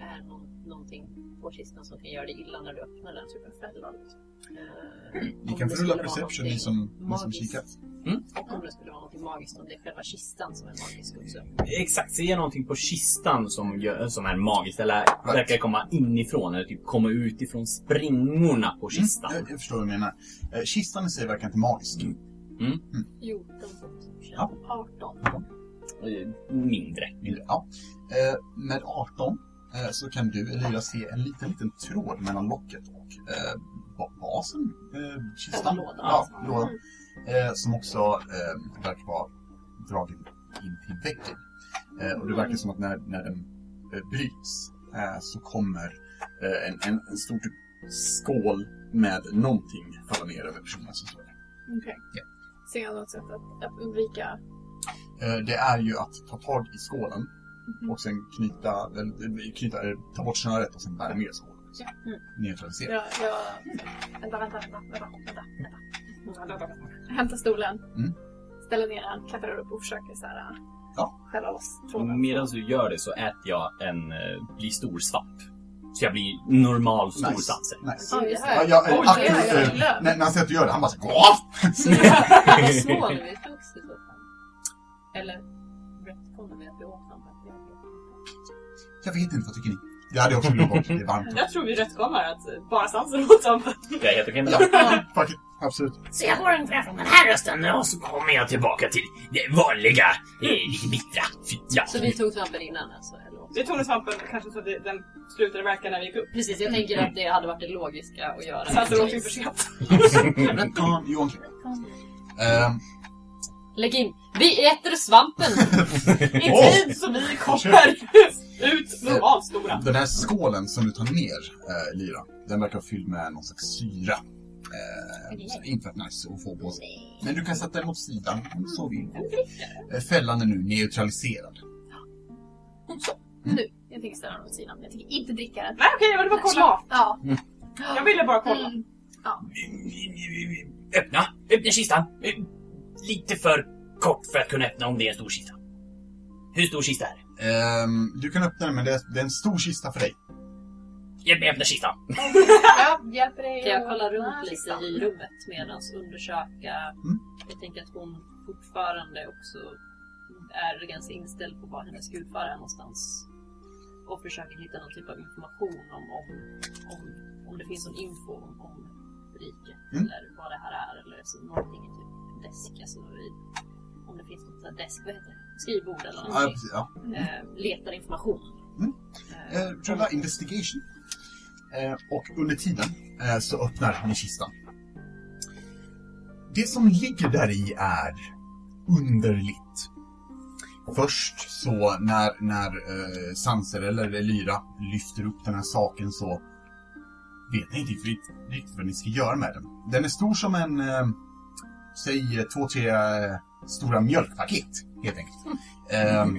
S5: är någon, någonting på kistan som kan göra dig illa när du öppnar den. Typ en fälla. liksom. Eh,
S2: Mm. Ni
S5: om
S2: kan
S5: det
S2: få
S5: skulle
S2: rulla
S5: vara
S2: perception, ni
S5: någonting
S2: som, ni som
S5: magiskt.
S2: kikar.
S8: Mm.
S5: Och om det skulle vara något magiskt, om det är själva kistan som är magisk också.
S8: Exakt, se någonting på kistan som, gör, som är magiskt eller verkar komma inifrån eller typ komma utifrån springorna på kistan.
S2: Mm, jag, jag förstår vad du menar. Eh, Kistan i sig verkar inte magisk.
S5: Jo, de
S2: Ja.
S5: 18.
S8: Eh, Mindre.
S2: Mindre. Ja. Eh, med 18 eh, så kan du, Elira, se en liten, liten tråd mellan locket och eh, ba- basen. Eh, kistan.
S5: Själva lådan.
S2: Ja, lådan. Eh, som också eh, verkar vara dragen in till väggen. Eh, och det verkar som att när, när den eh, bryts eh, så kommer eh, en, en, en stor typ skål med någonting falla ner över personen som står där.
S9: Okej.
S2: Ja.
S9: Ser jag något sätt att, att undvika?
S2: Eh, Det är ju att ta tag i skålen och sen knyta, eller, eh, knyta, eh, ta bort snöret och sen bära med skålen. liksom. Neutralisera.
S9: Jag, jag... Vänta, vänta, vänta, vänta, vänta, vänta. Jag hämtar stolen,
S2: Mm.
S9: ställer ner den, klättrar upp och försöker så här,
S2: Ja.
S9: skälla loss tråden.
S8: Medan du gör det så äter jag en, eh, blir stor svamp. Så jag blir normal stor
S2: Nice.
S8: sanser.
S2: Nice.
S5: Ja, just det.
S2: Ja, jag, eh,
S9: Oj,
S2: aktivt,
S9: det är jag
S2: eh,
S9: glömt.
S2: när, när han ser att du gör det, han bara så här, "Åh!"
S5: Vad snål vi togs i så fall. Eller retconar vi att vi åt honom?
S2: Jag vet inte, vad tycker ni? Jag hade också glömt bort det är varmt.
S7: Jag tror vi rättkomar att bara svansen åt dem.
S8: Jag är helt okej med
S2: Ja,
S8: det.
S2: ja, fuck it. Absolut.
S6: Så jag går ungefär från den här rösten och så kommer jag till...
S8: Tillbaka till det vanliga, eh, lite bittra. Fy- Ja.
S5: Så vi tog svampen innan alltså? Eller? vad?
S7: Vi tog den svampen kanske så att det- den slutade verka när vi gick upp.
S5: Precis, jag tänker att det hade varit det logiska att göra.
S7: Svansen åt ju för sent.
S2: Rätt on, Johan Klink. Ehm,
S5: Lägg in. Vi äter svampen!
S7: I
S2: Åh!
S7: tid så vi kommer ut normalt stora.
S2: Den här skålen som du tar ner, eh, Lyra, den verkar vara fylld med någon slags syra. Eh, så inte varit nice att få på sig. Men du kan sätta den åt sidan om du så vill. Eh, Fällan är nu neutraliserad. Mm.
S9: Nu. Jag tänker ställa den åt sidan. Jag tänker inte dricka den. Mm.
S7: Nej okej, jag ville bara kolla.
S9: Ja.
S7: Jag ville bara kolla.
S9: Mm.
S8: Öppna, öppna kistan. Eh, Lite för kort för att kunna öppna om det är en stor kista. Hur stor kista är det?
S2: Ehm, du kan öppna den men det är, det är en stor kista för dig.
S8: Hjälp mig öppna kistan.
S9: Jag hjälper dig.
S5: Kan jag kolla
S9: att-
S5: runt lite i rummet medan undersöka?
S2: Mm.
S5: Jag tänker att hon fortfarande också är ganska inställd på var hennes gudfar är någonstans. Och försöker hitta någon typ av information om, om, om, om det finns någon info om, om riket
S2: Mm.
S5: eller vad det här är. Eller så någonting i typ desk. Alltså, i, om det finns något sånt här desk, vad heter det? Skrivbord eller
S2: Ja,
S5: någonting.
S2: precis, ja.
S5: Eh, letar information.
S2: Mm.
S5: Eh,
S2: Eh, rulla investigation. Eh, och under tiden eh, så öppnar ni kistan. Det som ligger där i är underligt. Först så när, när eh, Sanser eller Lyra lyfter upp den här saken så vet ni inte riktigt, riktigt vad ni ska göra med den. Den är stor som en, eh, säg eh, två, tre eh, stora mjölkpaket helt enkelt. Ehm,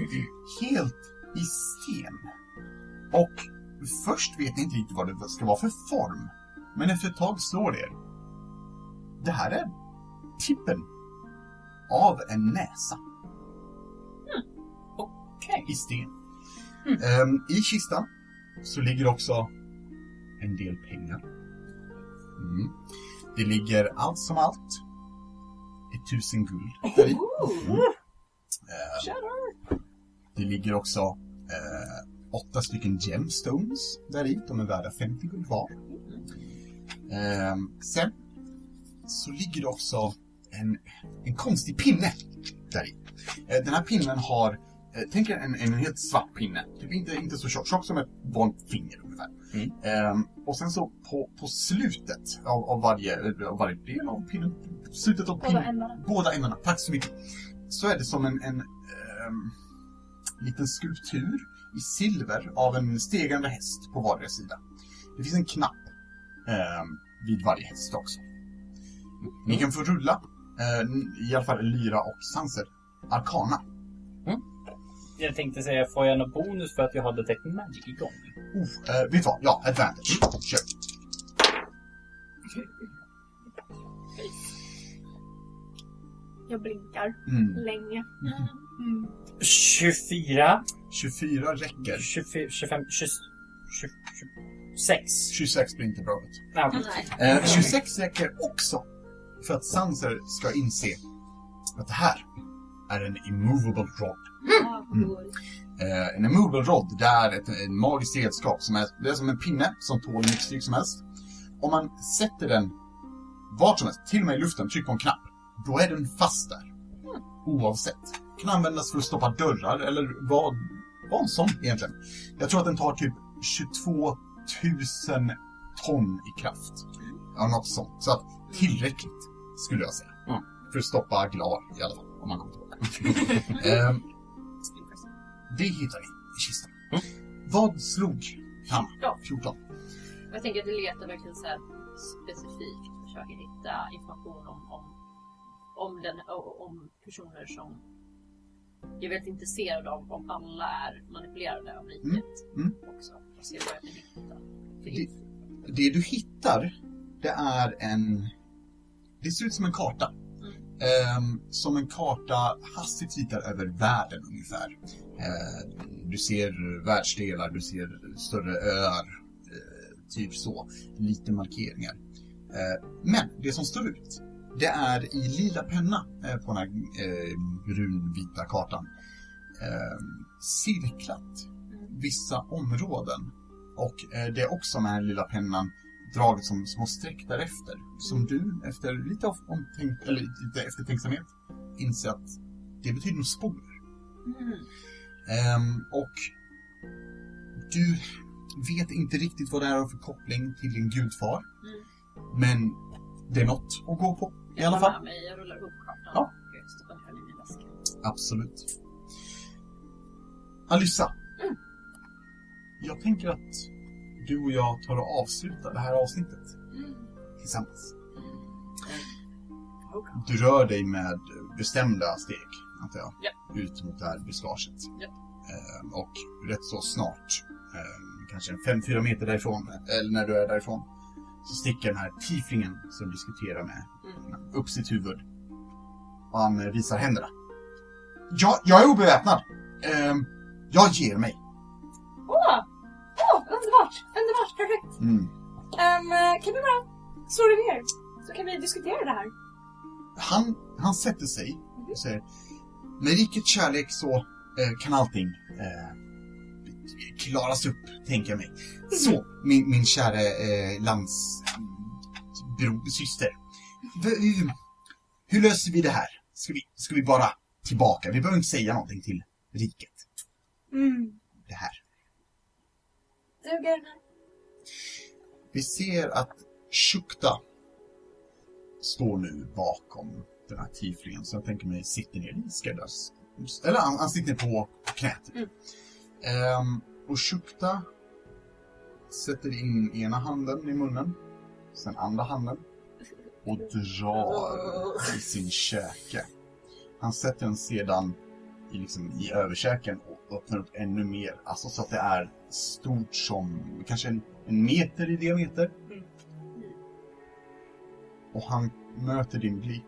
S2: helt i sten. Och först vet ni inte riktigt vad det ska vara för form. Men efter ett tag slår det er. Det här är tippen av en näsa. Okej. I sten. Ehm, I kistan så ligger också en del pengar. Mm. Det ligger allt som allt ett tusen guld där i. Mm. Ehm, det ligger också eh, åtta stycken gemstones där i. De är värda 50 guld var. Ehm, sen så ligger det också en, en konstig pinne där i. Eh, den här pinnen har, eh, tänk er en, en helt svart pinne. Typ inte, inte så tjock, tjock som ett vanligt finger ungefär.
S8: Mm.
S2: Ehm, och sen så på, på slutet av, av, varje, av varje del av pinnen, slutet av
S9: Kolla
S2: pinnen,
S9: ändarna.
S2: båda ändarna, tack så mycket. Så är det som en, en ehm, liten skulptur i silver av en stegrande häst på vardera sida. Det finns en knapp ehm, vid varje häst också. Ni kan få rulla, eh, i alla fall Lyra och Sanser, Arkana.
S8: Jag tänkte säga, får jag någon bonus för att jag har Detect Magic igång?
S2: Oh, eh, vet du vad? Ja, advantage. Kör.
S9: Jag blinkar
S2: Mm.
S9: länge. Mm.
S8: 24,
S2: 24 räcker.
S8: 25, 25 20, 26.
S2: 26 blir inte bra. vet du.
S8: Nej, okej.
S5: nej.
S2: Eh, 26 räcker också för att Sanser ska inse att det här är en immovable rod. Eh, en immovable rod, det är ett, ett magiskt redskap som är, det är som en pinne som tål hur mycket stryk som helst. Om man sätter den vart som helst, till och med i luften, trycker på en knapp, då är den fast där. Oavsett. Kan användas för att stoppa dörrar eller vad, vad som egentligen. Jag tror att den tar typ 22 000 ton i kraft. Ja, något sånt. Så att tillräckligt, skulle jag säga. För att stoppa Glar i alla fall, om man kommer tillbaka. Ehm, det hittar ni i kistan. Vad slog han?
S5: 14.
S2: 14.
S5: Jag tänker att vi letar verkligen så här specifikt och försöker hitta information om, om, om, den, o- om personer som jag är väldigt intresserad av om alla är manipulerade av riket
S2: Mm,
S5: också. Och se vad jag kan hitta. för
S2: Det-
S5: info.
S2: Det du hittar, det är en... Det ser ut som en karta. Ehm, som en karta hastigt ritar över världen ungefär. Eh, du ser världsdelar, du ser större öar, eh, typ så. Lite markeringar. Eh, men det som står ut, det är i lila penna eh, på den här eh, brunvita kartan. Eh, cirklat vissa områden Och eh, det är också med den lilla pennan draget som små streck därefter. Som du, efter lite, av- omtänk- eller lite eftertänksamhet, inser att det betyder nog sporer.
S5: Mm.
S2: Ehm, och du vet inte riktigt vad det är för koppling till din gudfar.
S5: Mm.
S2: Men det är något att gå på i alla
S5: Jag
S2: fall.
S5: tar med mig, jag rullar ihop kartan
S2: Ja.
S5: och stoppar ner den i min väska.
S2: Absolut. Alyssa.
S5: Mm.
S2: Jag tänker att du och jag tar och avslutar det här avsnittet
S5: Mm.
S2: tillsammans. Du rör dig med bestämda steg, antar jag,
S5: Ja.
S2: ut mot det här buskaget.
S5: Ja.
S2: Ehm, Och rätt så snart, ehm, kanske en fem fyra meter därifrån, eller när du är därifrån, så sticker den här tieflingen som du diskuterar med
S5: Mm.
S2: upp sitt huvud. Och han eh, visar händerna. Jag, jag är obeväpnad! Ehm, jag ger mig.
S1: Åh! Åh, underbart! Underbart, perfekt!
S2: Mm.
S1: Ehm, kan vi bara slå dig ner? Så kan vi diskutera det här.
S2: Han, han sätter sig och säger Med rikets kärlek så eh, kan allting eh, klaras upp, tänker jag mig. Så, min, min kära eh, landssyster. Hur löser vi det här? Ska vi, ska vi bara tillbaka? Vi behöver inte säga någonting till riket.
S1: Mm.
S2: Det här.
S1: Duger det?
S2: Vi ser att Shukta står nu bakom den här tieflingen. Så jag tänker mig sitter ner i deras... Eller han, han sitter på knät. Ehm, och Shukta sätter in ena handen i munnen, sen andra handen och drar i sin käke. Han sätter den sedan i, liksom, i överkäken och öppnar upp ännu mer. Alltså så att det är stort som kanske en, en meter i diameter. Och han möter din blick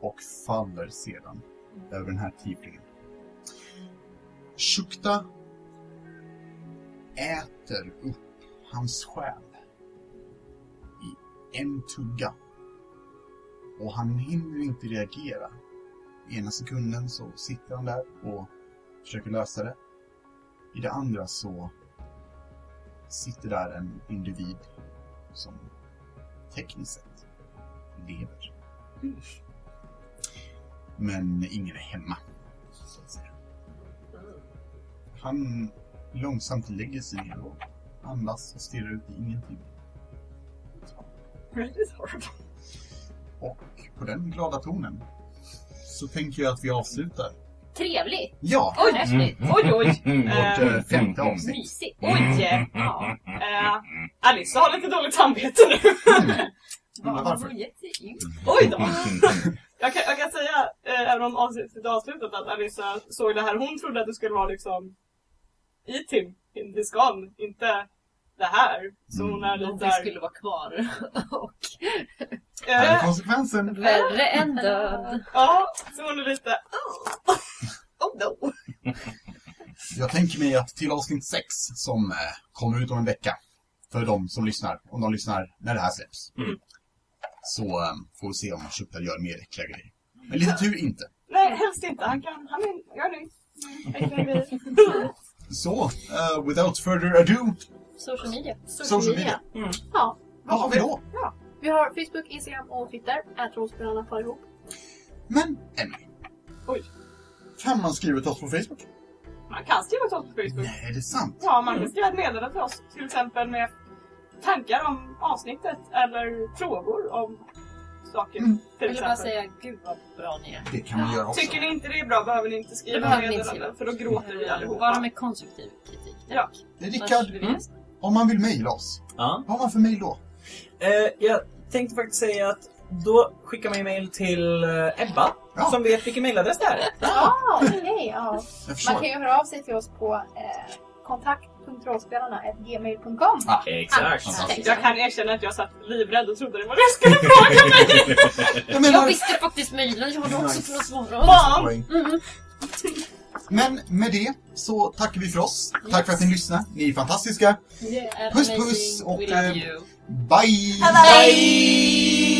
S2: och faller sedan över den här tiplingen. Shukta äter upp hans själ i en tugga. Och han hinner inte reagera i ena sekunden så sitter han där och försöker lösa det. I det andra så sitter där en individ som tekniskt sett lever. Men ingen är hemma, så att säga. Han långsamt lägger sig ner och andas och stirrar ut i ingenting.
S7: Really sorry.
S2: Och på den glada tonen så tänker jag att vi avslutar.
S5: Trevligt!
S2: Ja!
S5: Oj, häftigt!
S8: Mm.
S5: Oj, oj!
S7: Eh,
S2: Vårt eh, femte avsnitt.
S5: Mysigt!
S7: Oj!
S8: Mm.
S7: Ja. Eh, Alice har lite dåligt samvete nu.
S2: Undrar
S5: Vad har
S2: varför. Mm.
S5: hon gett sig in?
S7: Oj då! Jag kan, jag kan säga, eh, även om avsnittet är avslutat, att Alissa såg det här. Hon trodde att det skulle vara liksom i Tim, in diskan, inte det här. Så hon
S1: Mm.
S7: är lite
S5: Det
S7: där.
S5: skulle vara kvar. Och
S2: Här är
S7: Eh,
S2: konsekvensen.
S5: värre än död.
S7: ja, så hon är lite... Oh, oh no!
S2: Jag tänker mig att till avsnitt 6 som eh, kommer ut om en vecka för de som lyssnar, om de lyssnar när det här släpps. Så eh, får vi se om Shukta gör mer äckliga grejer. Men lite tur inte.
S7: Nej, helst inte. Han kan... Han är... Gör nu. Han kan bli-
S2: Så, eh, without further ado,
S5: Social media.
S2: social media.
S9: Ja.
S2: Vad har vi då?
S9: Vi har Facebook, Instagram och Twitter. Ätrollspelarna för ihop.
S2: Men, Emily.
S7: Oj.
S2: Kan man skriva till oss på Facebook?
S7: Man kan skriva till oss på Facebook.
S2: Nej, det är sant.
S7: Ja, man kan skriva ett meddelande till oss. Till exempel med tankar om avsnittet eller frågor om saker.
S2: Mm.
S7: Till
S5: Jag ville bara
S7: exempel.
S5: säga, gud vad bra ni är.
S2: Det kan man göra också.
S7: Tycker ni inte det är bra behöver ni inte
S5: Det
S7: skriva
S5: behöver ni inte
S7: meddelanden för
S5: skriva.
S7: då gråter vi
S5: Bara
S7: allihopa.
S5: med konstruktiv kritik. tack.
S7: Ja.
S2: Rickard,
S5: Annars vill
S2: Mm.
S5: jag-
S2: om man vill mejla oss,
S8: Ja.
S2: vad har man för mejl då?
S8: Eh, jag tänkte faktiskt säga att då skickar man ju mail till eh, Ebba
S2: Ja.
S8: som vet vilken mailadress det är.
S2: Ah!
S9: Ja, okej. ja.
S2: Jag
S9: Man kan
S2: förstår.
S9: ju höra av sig till oss på eh, kontakt.rollspelarna.gmail.com.
S8: Exakt.
S2: Fantastiskt.
S7: Jag kan erkänna att jag satt livrädd och trodde det var det jag skulle fråga mig.
S2: Jag
S5: Jag
S2: menar,
S5: visste faktiskt mejlen, jag hade också kunnat svara.
S7: Fan!
S2: poäng. Men med det så tackar vi för oss. Tack för att ni lyssnade. Ni är fantastiska.
S5: Det är
S2: Puss, eh,
S5: amazing.
S2: puss och,
S5: We love
S2: eh,
S5: you.
S2: Bye!
S7: Bye!